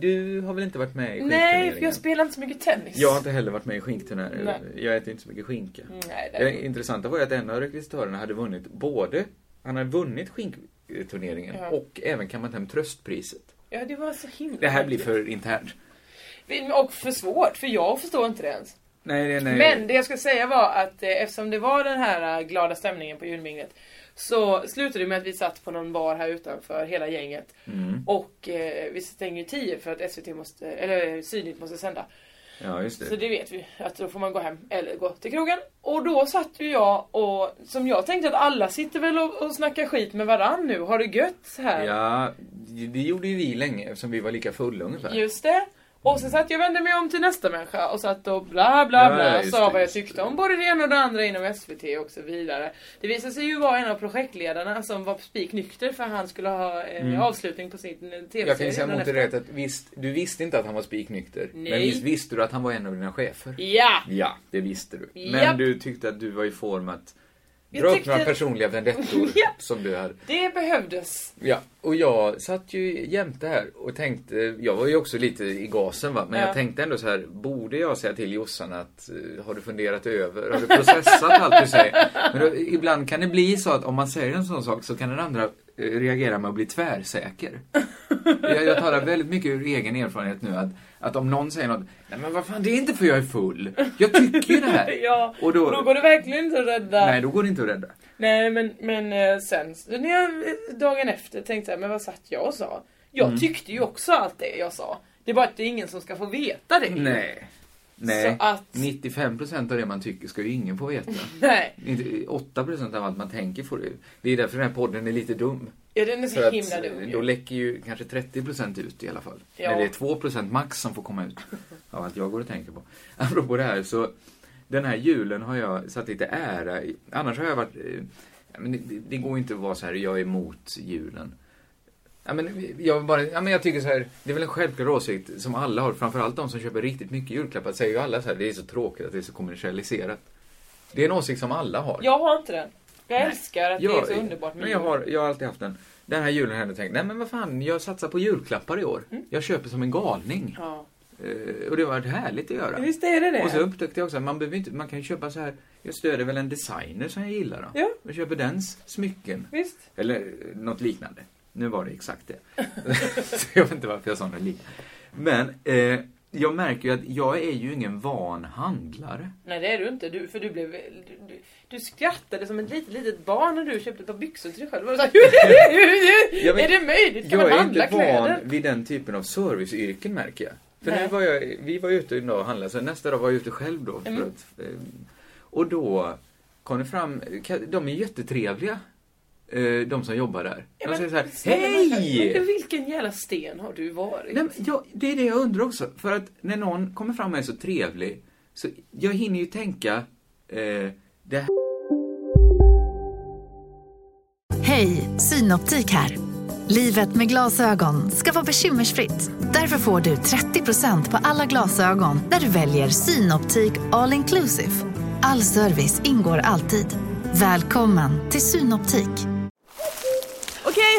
Speaker 3: Du har väl inte varit med i skinkturneringen?
Speaker 4: Mm. Nej, för jag spelar inte så mycket tennis.
Speaker 3: Jag har inte heller varit med i skinkturneringen.
Speaker 4: Nej. Mm.
Speaker 3: Jag äter inte så mycket skinka.
Speaker 4: Nej, det är
Speaker 3: Det intressanta var ju att en av rekvisitörerna hade vunnit både, han hade vunnit skinkturneringen
Speaker 4: Ja.
Speaker 3: och även kammat hem tröstpriset.
Speaker 4: Ja, det var så himla
Speaker 3: Det här blir
Speaker 4: märkligt.
Speaker 3: för internt.
Speaker 4: Och för svårt, för jag förstår inte det ens.
Speaker 3: Nej, nej, nej.
Speaker 4: Men det jag ska säga var att eh, eftersom det var den här eh, glada stämningen på julminglet så slutade det med att vi satt på någon bar här utanför, hela gänget.
Speaker 3: Mm.
Speaker 4: Och eh, vi stänger ju 10 för att SVT måste, eller eh, Sydnytt måste sända.
Speaker 3: Ja, just det.
Speaker 4: Så det vet vi, att då får man gå hem eller gå till krogen. Och då satt ju jag och, som jag tänkte att alla sitter väl och, och snackar skit med varann nu, har det gött här.
Speaker 3: Ja, det gjorde ju vi länge eftersom vi var lika fulla ungefär.
Speaker 4: Just det. Och sen satt jag och vände mig om till nästa människa och satt och bla bla
Speaker 3: Ja,
Speaker 4: bla
Speaker 3: just
Speaker 4: sa
Speaker 3: det,
Speaker 4: vad jag
Speaker 3: just
Speaker 4: tyckte
Speaker 3: det.
Speaker 4: om både det ena och det andra inom SVT och så vidare. Det visade sig ju vara en av projektledarna som var spiknykter för han skulle ha en avslutning på sin eh, tv-serie.
Speaker 3: Mm. Jag kan ju säga
Speaker 4: dagen
Speaker 3: mot dig
Speaker 4: efter.
Speaker 3: rätt att visst, du visste inte att han var spiknykter. Men
Speaker 4: Nej.
Speaker 3: visst visste du att han var en av dina chefer?
Speaker 4: Ja!
Speaker 3: Ja, det visste du. Men
Speaker 4: Japp.
Speaker 3: du tyckte att du var i form att
Speaker 4: Jag
Speaker 3: dra upp
Speaker 4: tyckte-
Speaker 3: några personliga vendettor
Speaker 4: Japp.
Speaker 3: som du hade.
Speaker 4: Det behövdes.
Speaker 3: Ja, och jag satt ju jämte här och tänkte, jag var ju också lite i gasen va, men
Speaker 4: Ja.
Speaker 3: jag tänkte ändå så här, borde jag säga till Jossan att eh, har du funderat över, har du processat allt du säger? Men då, ibland kan det bli så att om man säger en sån sak så kan den andra eh, reagera med att bli tvärsäker. Jag, jag talar väldigt mycket ur egen erfarenhet nu att, att om någon säger något, nej men vad fan det är inte för jag är full, jag tycker ju det här.
Speaker 4: Ja,
Speaker 3: och då,
Speaker 4: då går det verkligen inte att rädda.
Speaker 3: Nej, då går det inte att rädda.
Speaker 4: Nej men, men eh, sen så när jag eh, dagen efter tänkte jag, men vad satt jag och sa? Jag
Speaker 3: Mm.
Speaker 4: tyckte ju också allt det jag sa. Det är bara att det är ingen som ska få veta det.
Speaker 3: Nej. Nej.
Speaker 4: Så att-
Speaker 3: 95% av det man tycker ska ju ingen få veta.
Speaker 4: Nej.
Speaker 3: Inte- 8% av allt man tänker får du. Det är därför den här podden är lite dum.
Speaker 4: Ja, den är så
Speaker 3: För att
Speaker 4: himla
Speaker 3: eh,
Speaker 4: dum
Speaker 3: då
Speaker 4: ju.
Speaker 3: läcker ju kanske 30% ut i alla fall.
Speaker 4: Ja.
Speaker 3: När det är 2% max som får komma ut. Av allt jag går och tänker på. Apropå det här så. Den här julen har jag satt lite ära i. Annars har jag varit. eh, ja, Men det, det går ju inte att vara så här, jag är emot julen. Ja, men jag, bara, ja, men jag tycker så här, det är väl en självklar åsikt som alla har, framförallt de som köper riktigt mycket julklappar, säger ju alla så här, det är så tråkigt att det är så kommersialiserat. Det är en åsikt som alla har.
Speaker 4: Jag har inte den. Jag älskar att det är så underbart
Speaker 3: Men jag har, jag har alltid haft den. Den här julen har jag ändå tänkt, nej men vad fan, jag satsar på julklappar i år. Jag köper som en galning.
Speaker 4: Mm. Ja.
Speaker 3: Eh, och det har varit härligt att göra.
Speaker 4: Visst är det det?
Speaker 3: Och så upptäckte jag också att man, behöver inte, man kan ju köpa så här, jag stöder väl en designer som jag gillar då.
Speaker 4: Ja.
Speaker 3: Jag köper dens smycken.
Speaker 4: Visst?
Speaker 3: Eller eh, något liknande. Nu var det exakt det. så jag vet inte varför jag sa något liknande. Men eh, jag märker ju att jag är ju ingen van handlare.
Speaker 4: Nej det är du inte. Du, för du blev... Du, du, du skrattade som ett litet, litet barn när du köpte ett par byxor till dig själv. Och så här,
Speaker 3: Ja, men-
Speaker 4: är det möjligt? Kan
Speaker 3: Jag
Speaker 4: man
Speaker 3: är
Speaker 4: handla
Speaker 3: inte
Speaker 4: kläder?
Speaker 3: van vid den typen av serviceyrken märker jag. För
Speaker 4: Nej.
Speaker 3: nu var jag, vi var ute en dag och handlade, så nästa dag var jag ute själv då. För
Speaker 4: Mm.
Speaker 3: att, eh, och då kom det fram, ka- de är jättetrevliga, eh, de som jobbar där.
Speaker 4: Ja,
Speaker 3: De
Speaker 4: men
Speaker 3: säger så här,
Speaker 4: snälla,
Speaker 3: hej!
Speaker 4: men Vilken jävla sten har du varit?
Speaker 3: Nej, men jag, det är det jag undrar också, för att när någon kommer fram och är så trevlig, så jag hinner ju tänka, eh, det här
Speaker 5: Hej, Synoptik här. Livet med glasögon ska vara bekymmersfritt. Därför får du 30% på alla glasögon när du väljer Synoptik All Inclusive. All service ingår alltid. Välkommen till Synoptik.
Speaker 6: Okej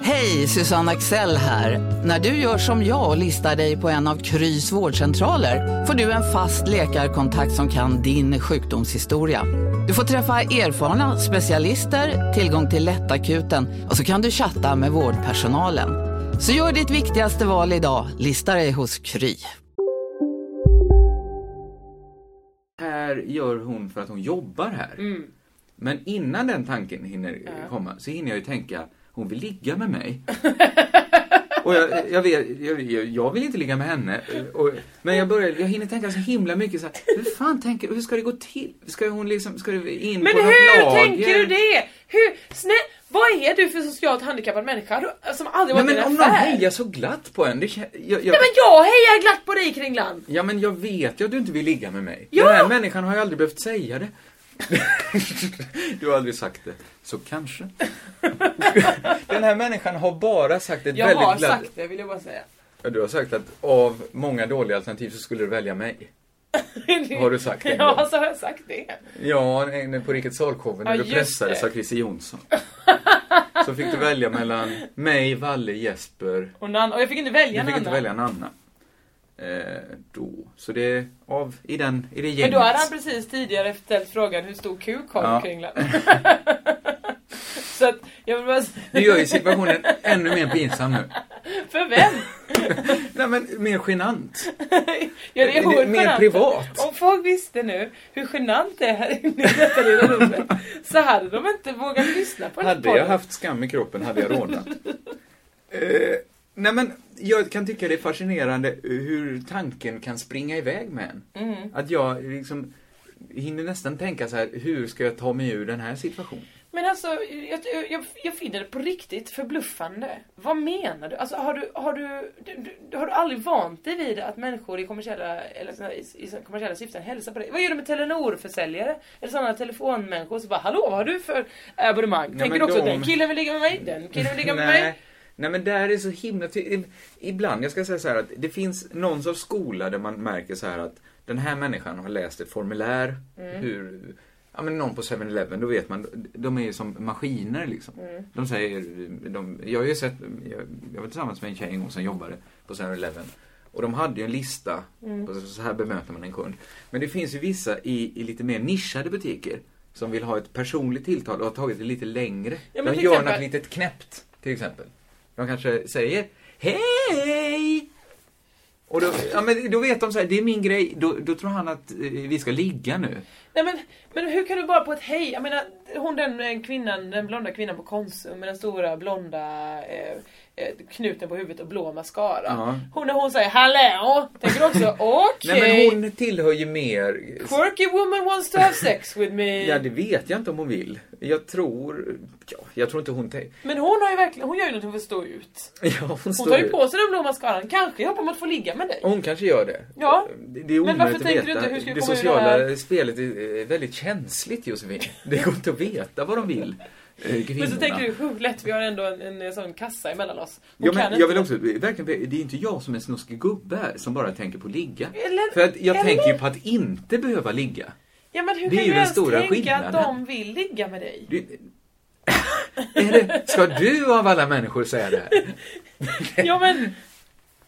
Speaker 7: Hej, Susanne Axel här. När du gör som jag och listar dig på en av Krys vårdcentraler får du en fast läkarkontakt som kan din sjukdomshistoria. Du får träffa erfarna specialister, tillgång till lättakuten och så kan du chatta med vårdpersonalen. Så gör ditt viktigaste val idag, listar dig hos Kry.
Speaker 3: här gör hon för att hon jobbar här.
Speaker 4: Mm.
Speaker 3: Men innan den tanken hinner komma så hinner jag ju tänka, hon vill ligga med mig. Och jag, jag, vet, jag, jag- jag vill inte ligga med henne. Och, men jag, börjar, jag hinner tänka så himla mycket så här, hur fan tänker hur ska det gå till? Ska hon liksom, ska det in
Speaker 4: Men
Speaker 3: på något
Speaker 4: hur
Speaker 3: lager?
Speaker 4: tänker du det? Hur, snä, vad är du för socialt handikappad människa du- som aldrig
Speaker 3: Nej
Speaker 4: varit i
Speaker 3: men
Speaker 4: en
Speaker 3: om någon
Speaker 4: affär?
Speaker 3: hejar så glatt på en, det, kä- jag, jag,
Speaker 4: Nej men jag hejar glatt på dig Kringland!
Speaker 3: Ja men jag vet ju att du inte vill ligga med mig.
Speaker 4: Ja!
Speaker 3: Den här människan har ju aldrig behövt säga det. du har aldrig sagt det. Så kanske. Den här människan har bara sagt ett
Speaker 4: Jag
Speaker 3: väldigt
Speaker 4: har
Speaker 3: glatt-
Speaker 4: sagt det vill jag bara säga.
Speaker 3: Ja, Du har sagt att av många dåliga alternativ så skulle du välja mig. Har du sagt det en
Speaker 4: Ja,
Speaker 3: gång?
Speaker 4: så har jag sagt det.
Speaker 3: Ja, nej, på Rikets Salkoven när
Speaker 4: Ja,
Speaker 3: du
Speaker 4: just
Speaker 3: pressades
Speaker 4: det.
Speaker 3: av Christer Jonsson. Så fick du välja mellan mig, Valle, Jesper.
Speaker 4: Och, Nan- och jag fick inte välja
Speaker 3: Du
Speaker 4: en
Speaker 3: fick inte
Speaker 4: annan.
Speaker 3: välja en annan. Eh, då. Så det är av i den, i det gänget.
Speaker 4: Men då hade han precis tidigare ställt frågan hur stor kuk har
Speaker 3: Ja.
Speaker 4: du Kringland? så att jag vill bara säga,
Speaker 3: Det gör ju situationen ännu mer pinsam nu.
Speaker 4: för vem?
Speaker 3: Nej men mer genant.
Speaker 4: Ja, det är
Speaker 3: Mer
Speaker 4: hon genant.
Speaker 3: privat.
Speaker 4: Om folk visste nu hur genant det är här inne i detta lilla rummet så hade de inte vågat lyssna på den här
Speaker 3: Hade jag
Speaker 4: podden.
Speaker 3: haft skam i kroppen hade jag rodnat. eh, nej men, jag kan tycka det är fascinerande hur tanken kan springa iväg med en. Att jag liksom hinner nästan tänka så här, hur ska jag ta mig ur den här situationen?
Speaker 4: Men alltså, jag, jag, jag finner det på riktigt förbluffande. Vad menar du? Alltså, har, du, har, du, du, du har du aldrig vant dig vid att människor i kommersiella, eller såna, i, i såna kommersiella syften hälsar på dig? Vad gör du med Telenor-försäljare? Eller sådana telefonmänniskor som bara Hallå, vad har du för abonnemang? Tänker
Speaker 3: men
Speaker 4: du också
Speaker 3: de-
Speaker 4: den killen vill ligga med mig? Den killen vill ligga med mig?
Speaker 3: Nej. Nej men där är så himla ty- Ibland, jag ska säga så här att det finns någon sorts skola där man märker så här att den här människan har läst ett formulär.
Speaker 4: Mm.
Speaker 3: Hur, ja men någon på 7-Eleven, då vet man, de är ju som maskiner liksom.
Speaker 4: Mm.
Speaker 3: De säger, de, jag har ju sett, jag, jag var tillsammans med en tjej en gång som jobbade på 7-Eleven. Och de hade ju en lista,
Speaker 4: Mm.
Speaker 3: på så här bemöter man en kund. Men det finns ju vissa i, i lite mer nischade butiker som vill ha ett personligt tilltal och har tagit det lite längre.
Speaker 4: Ja, men
Speaker 3: de
Speaker 4: till
Speaker 3: gör
Speaker 4: exempel-
Speaker 3: något litet knäppt, till exempel. De kanske säger Hej! Och då, ja, men då vet de så här, det är min grej, då, då tror han att eh, vi ska ligga nu.
Speaker 4: Nej men, men hur kan du bara på ett hej? Jag menar, hon den eh, kvinnan, den blonda kvinnan på Konsum med den stora blonda eh, eh, knuten på huvudet och blå mascara.
Speaker 3: Ja.
Speaker 4: Hon när hon säger hallå, tänker du också okej.
Speaker 3: Nej men hon tillhör ju mer...
Speaker 4: Quirky woman wants to have sex with me.
Speaker 3: Ja, det vet jag inte om hon vill. Jag tror... Ja, jag tror inte hon... Te-
Speaker 4: Men hon har ju verkligen, hon gör ju någonting för att stå ut.
Speaker 3: ja, hon
Speaker 4: Hon
Speaker 3: står
Speaker 4: tar ju
Speaker 3: ju-
Speaker 4: på sig den blå mascaran, kanske i hopp om att få ligga med dig.
Speaker 3: Hon kanske gör det.
Speaker 4: Ja.
Speaker 3: Det det är
Speaker 4: Men varför
Speaker 3: omöjligt att
Speaker 4: tänker
Speaker 3: veta.
Speaker 4: du inte, hur ska vi
Speaker 3: det
Speaker 4: komma ur
Speaker 3: sociala
Speaker 4: det här?
Speaker 3: spelet är eh, väldigt känsligt Josefin. Det går inte att veta vad de vill. eh,
Speaker 4: Men så
Speaker 3: kvinnorna.
Speaker 4: tänker du, hur lätt, vi har ändå en, en, eh, sån kassa emellan oss. Hon
Speaker 3: Ja,
Speaker 4: kan
Speaker 3: men
Speaker 4: inte.
Speaker 3: jag vill också, verkligen, det är inte jag som är en snuskig gubbe här som bara tänker på att ligga.
Speaker 4: Eller-
Speaker 3: För att jag
Speaker 4: eller-
Speaker 3: tänker ju på att inte behöva ligga.
Speaker 4: ja men hur
Speaker 3: det är
Speaker 4: kan
Speaker 3: ju
Speaker 4: du
Speaker 3: den
Speaker 4: ens
Speaker 3: stora
Speaker 4: tänka att
Speaker 3: skillnaden.
Speaker 4: de vill ligga med dig?
Speaker 3: Du, är det, ska du av alla människor säga det här?
Speaker 4: Ja men...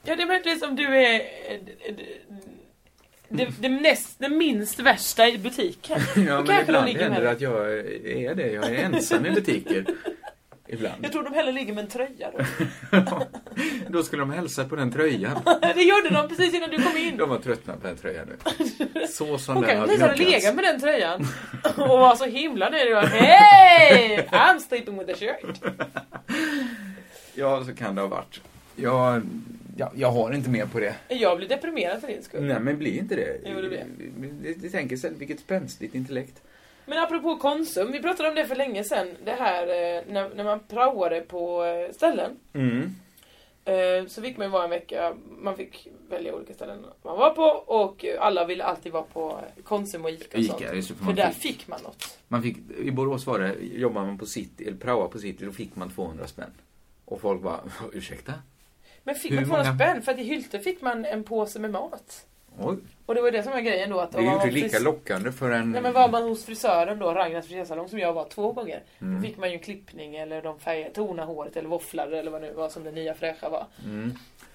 Speaker 4: Ja det är möjligtvis om du är... eh, d- d- Det, det, näst, det minst värsta i butiken.
Speaker 3: Ja,
Speaker 4: Då
Speaker 3: men
Speaker 4: kanske de
Speaker 3: ibland
Speaker 4: ligger
Speaker 3: händer
Speaker 4: med
Speaker 3: det
Speaker 4: dig.
Speaker 3: att jag är det. Jag är ensam i butiker. Ibland.
Speaker 4: Jag tror de hellre ligger med en tröja då.
Speaker 3: Då skulle de hälsa på den tröjan.
Speaker 4: det gjorde de precis innan du kom in.
Speaker 3: De har tröttnat på den tröjan nu. Så som
Speaker 4: Hon
Speaker 3: den har
Speaker 4: kanske precis hade
Speaker 3: gnuggats.
Speaker 4: legat med den tröjan. Och var så himla nöjd och bara, Hey! I'm sleeping with a shirt.
Speaker 3: Ja, så kan det ha varit. Jag, ja, jag har inte mer på det.
Speaker 4: Jag blir deprimerad för din skull.
Speaker 3: Nej, men bli inte det.
Speaker 4: Jo, Typ. det blir.
Speaker 3: det, det tänker sig, vilket spänstigt intellekt.
Speaker 4: Men apropå Konsum, vi pratade om det för länge sedan. Det här eh, när, när man praoade på eh, ställen.
Speaker 3: Mm.
Speaker 4: Eh, Så fick man ju vara en vecka, man fick välja olika ställen man var på och eh, alla ville alltid vara på Konsum och Ica och
Speaker 3: Ica,
Speaker 4: sånt.
Speaker 3: just det, för
Speaker 4: för
Speaker 3: man
Speaker 4: där
Speaker 3: fick-
Speaker 4: fick man något.
Speaker 3: Man fick, I Borås var det, jobbade man på city, eller praoade på city, då fick man 200 spänn. Och folk bara, ursäkta?
Speaker 4: Men fick
Speaker 3: Hur
Speaker 4: man 200
Speaker 3: många?
Speaker 4: spänn? För att i Hylte fick man en påse med mat.
Speaker 3: Oj,
Speaker 4: Och det var ju det som var grejen då. Att
Speaker 3: det är ju
Speaker 4: om man
Speaker 3: inte
Speaker 4: var
Speaker 3: lika
Speaker 4: fris-
Speaker 3: lockande för en...
Speaker 4: Nej men var man hos frisören då, Ragnars frisersalong som jag var två gånger.
Speaker 3: Mm.
Speaker 4: Då fick man ju en klippning eller de färgade, tona håret eller våfflade eller vad nu var som det nya fräscha var.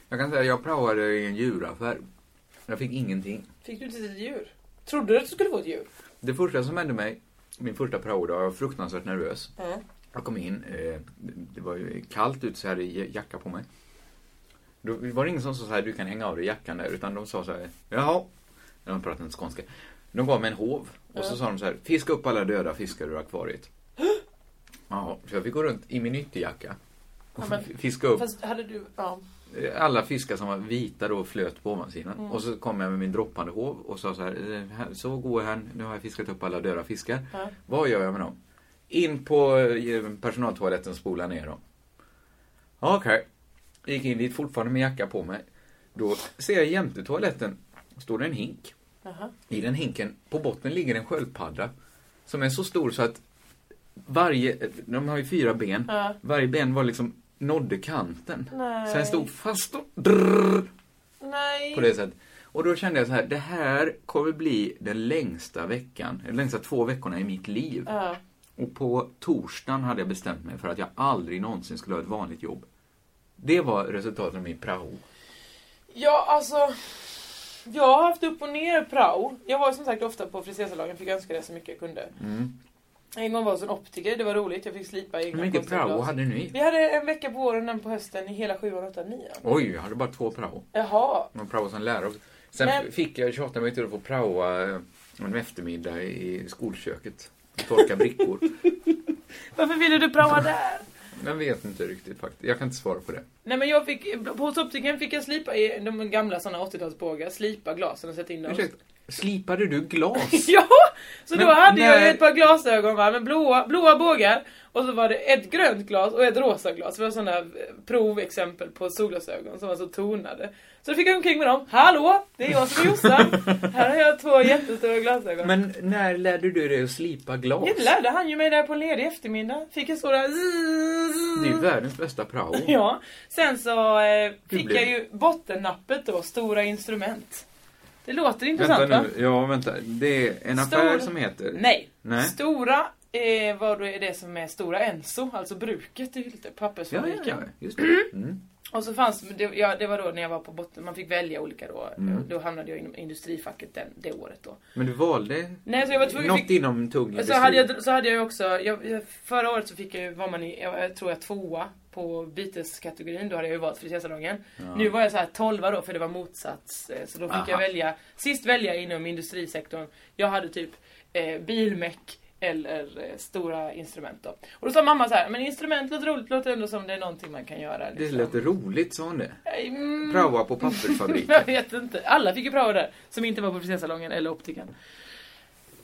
Speaker 3: Jag kan säga, jag praoade i en djuraffär. Jag fick ingenting.
Speaker 4: Fick du inte ett djur? Trodde du att du skulle få ett djur?
Speaker 3: Det första som hände mig, min första praodag, jag var fruktansvärt nervös.
Speaker 4: Mm.
Speaker 3: Jag kom in, eh, det var ju kallt ute så jag hade j- jacka på mig. Då var det ingen som sa så här, du kan hänga av dig jackan där, utan de sa så här, jaha. De pratade inte skånska. De gav mig en hov och så sa de så här, fiska upp alla döda fiskar ur akvariet. Ja, så jag fick gå runt i min ytterjacka och
Speaker 4: men-
Speaker 3: fiska upp
Speaker 4: Fast hade du... Ja.
Speaker 3: Eh, alla fiskar som var vita då flöt på ovansidan. Och så kom jag med min droppande hov och sa så här, eh, här. Så går han, nu har jag fiskat upp alla döda fiskar. Vad gör jag med dem? In på eh, personaltoaletten och spola ner dem. Ja, Okej. Gick in dit fortfarande med jacka på mig. Då ser jag jämte toaletten står det en hink. I den hinken, på botten ligger en sköldpadda. Som är så stor så att varje, de har ju fyra ben. Varje ben var liksom nådde kanten. Så den stod fast och drrrr,
Speaker 4: Nej.
Speaker 3: på det sättet. Och då kände jag så här, det här kommer bli den längsta veckan, de längsta två veckorna i mitt liv.
Speaker 4: Ja.
Speaker 3: Och på torsdagen hade jag bestämt mig för att jag aldrig någonsin skulle ha ett vanligt jobb. Det var resultatet av min prao.
Speaker 4: Ja, alltså. Jag har haft upp och ner prao. Jag var ju som sagt ofta på frisersalongen, fick önska det så mycket jag kunde. En gång var jag hos en optiker, det var roligt. Jag fick slipa egna
Speaker 3: Mm. Hur mycket
Speaker 4: konstiga
Speaker 3: prao
Speaker 4: glas.
Speaker 3: hade ni?
Speaker 4: Vi hade en vecka på våren, en på hösten i hela sjuan, åttan, nian.
Speaker 3: Oj, jag hade bara två prao.
Speaker 4: Jaha.
Speaker 3: Man prao som lärare. Sen
Speaker 4: Men-
Speaker 3: fick jag tjata mig till att få praoa eh, en eftermiddag i skolköket. Torka brickor.
Speaker 4: Varför ville du praoa där?
Speaker 3: Jag vet inte riktigt faktiskt. Jag kan inte svara på det.
Speaker 4: Nej men jag fick, hos optiken fick jag slipa i de gamla såna 80-talsbågar, slipa glasen och sätta in dem.
Speaker 3: Ursäkta, slipade du glas?
Speaker 4: Ja! Så då
Speaker 3: Men
Speaker 4: hade jag ju
Speaker 3: när-
Speaker 4: ett par glasögon va, med blåa, blåa bågar och så var det ett grönt glas och ett rosa glas. Det var sådana eh, provexempel på solglasögon som var så tonade. Så då fick jag gå omkring med dem. Hallå! Det är jag som är Jossan. Här har jag två jättestora glasögon.
Speaker 3: Men när lärde du dig att slipa glas?
Speaker 4: Det lärde han ju mig där på en ledig eftermiddag. Fick jag stå där.
Speaker 3: Det är ju världens bästa prao.
Speaker 4: Ja, sen så eh,
Speaker 3: Du
Speaker 4: fick
Speaker 3: blev-
Speaker 4: jag ju bottennappet då, stora instrument. Det låter intressant
Speaker 3: Vänta
Speaker 4: va?
Speaker 3: nu, ja vänta. Det är en
Speaker 4: Stor-
Speaker 3: affär som heter...
Speaker 4: Nej.
Speaker 3: Nej.
Speaker 4: Stora eh, var det det som är Stora Enso, alltså bruket, det är ju lite
Speaker 3: Ja,
Speaker 4: pappersfabriken.
Speaker 3: ja, ja, just det. Mm.
Speaker 4: Och så fanns, det, ja, det var då när jag var på botten, man fick välja olika då.
Speaker 3: Mm.
Speaker 4: Då hamnade jag inom industrifacket den, det året då.
Speaker 3: Men du valde
Speaker 4: Nej, så jag var tvungen-
Speaker 3: något
Speaker 4: fick-
Speaker 3: inom tung
Speaker 4: Och så
Speaker 3: industri.
Speaker 4: hade, jag, så hade jag ju också, jag, jag, förra året så fick jag ju, var man i, jag, jag tror jag tvåa på byteskategorin, då hade jag ju valt frisersalongen. Nu var jag så här tolva då för det var motsats, eh, så då fick jag
Speaker 3: Aha.
Speaker 4: välja, sist välja inom industrisektorn, jag hade typ eh, bilmek eller eh, stora instrument då. Och då sa mamma så här, men instrument låter roligt, låter ändå som det är någonting man kan göra.
Speaker 3: Det
Speaker 4: Liksom.
Speaker 3: lät roligt, sa hon det.
Speaker 4: Mm.
Speaker 3: Praoa på pappersfabriken.
Speaker 4: Jag vet inte. Alla fick ju prova där. Som inte var på frisersalongen eller optiken.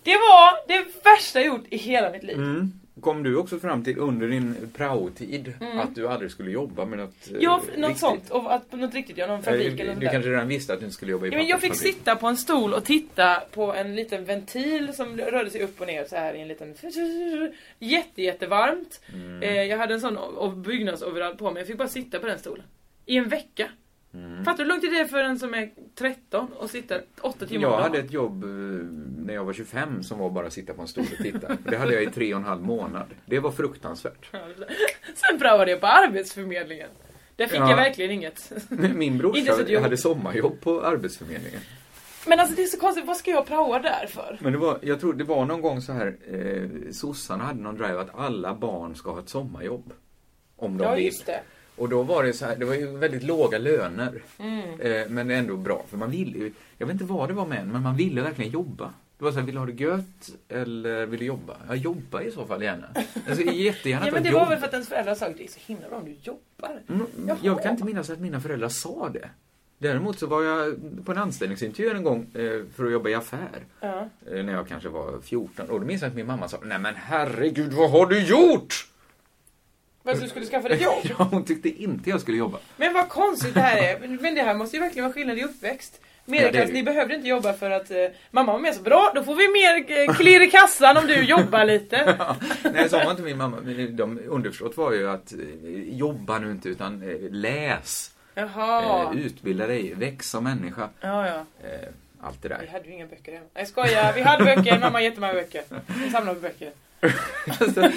Speaker 4: Det var det värsta jag gjort i hela mitt liv.
Speaker 3: Mm. Kom du också fram till under din praotid att du aldrig skulle jobba med något eh,
Speaker 4: Mm. Ja, något
Speaker 3: riktigt?
Speaker 4: sånt. Och att, något riktigt, ja, någon
Speaker 3: Eller,
Speaker 4: fabrik eller något
Speaker 3: Du
Speaker 4: sånt där.
Speaker 3: kanske redan visste att du inte skulle jobba i
Speaker 4: Ja, men jag fick
Speaker 3: pappersfabrik.
Speaker 4: sitta på en stol och titta på en liten ventil som rörde sig upp och ner så här i en liten... Jätte, jättevarmt.
Speaker 3: Mm.
Speaker 4: Eh, jag hade en sån o- o- byggnadsoverall på mig. Jag fick bara sitta på den stolen. I en vecka.
Speaker 3: Mm.
Speaker 4: Fattar du hur långt det är för en som är 13 och sitter 8 timmar
Speaker 3: Jag
Speaker 4: om
Speaker 3: hade
Speaker 4: dagen?
Speaker 3: ett jobb eh, när jag var 25 som var bara att sitta på en stol och titta. Det hade jag i tre och en halv månad. Det var fruktansvärt.
Speaker 4: Sen prövade jag på Arbetsförmedlingen. Där fick
Speaker 3: Ja.
Speaker 4: jag verkligen inget.
Speaker 3: Min
Speaker 4: Inte så ett
Speaker 3: brorsa
Speaker 4: jobb.
Speaker 3: hade sommarjobb på Arbetsförmedlingen.
Speaker 4: Men alltså det är så konstigt, vad ska jag praoa där för?
Speaker 3: Men det var, jag tror det var någon gång så här, eh, sossarna hade någon drive att alla barn ska ha ett sommarjobb. Om de
Speaker 4: Ja,
Speaker 3: vill.
Speaker 4: just det.
Speaker 3: Och då var det så här, det var ju väldigt låga löner.
Speaker 4: Mm.
Speaker 3: Eh, men ändå bra, för man ville ju, jag vet inte vad det var med en, men man ville verkligen jobba. Det var så här, vill du ha det gött eller vill du jobba? Ja, jobba i så fall gärna. Alltså jättegärna
Speaker 4: Ja
Speaker 3: att
Speaker 4: men
Speaker 3: ha
Speaker 4: det
Speaker 3: ett
Speaker 4: var
Speaker 3: jobb.
Speaker 4: väl för att ens föräldrar sa att det är så himla bra om du jobbar.
Speaker 3: Mm, Jag kan inte minnas att mina föräldrar sa det. Däremot så var jag på en anställningsintervju en gång eh, för att jobba i affär. Eh, När jag kanske var 14. Och då minns jag att min mamma sa, nej men herregud vad har du gjort?
Speaker 4: Men du skulle skaffa dig jobb.
Speaker 3: Ja, hon tyckte inte jag skulle jobba.
Speaker 4: Men vad konstigt det här är. Men det här måste ju verkligen vara skillnad i uppväxt.
Speaker 3: Ja, det är
Speaker 4: Medelklass,
Speaker 3: det.
Speaker 4: ni behövde inte jobba för att eh, mamma var med så bra, då får vi mer eh, klirr i kassan om du jobbar lite.
Speaker 3: Nej, så var inte min mamma. Men de underförstått var ju att eh, jobba nu inte utan eh, läs.
Speaker 4: Jaha.
Speaker 3: Eh, utbilda dig, väx som människa.
Speaker 4: Ja, ja.
Speaker 3: Eh, allt det
Speaker 4: Vi
Speaker 3: där.
Speaker 4: hade ju inga böcker hemma. Jag skojar, vi hade böcker. Mamma har jättemånga böcker. Hon samlar på böcker.
Speaker 3: Alltså,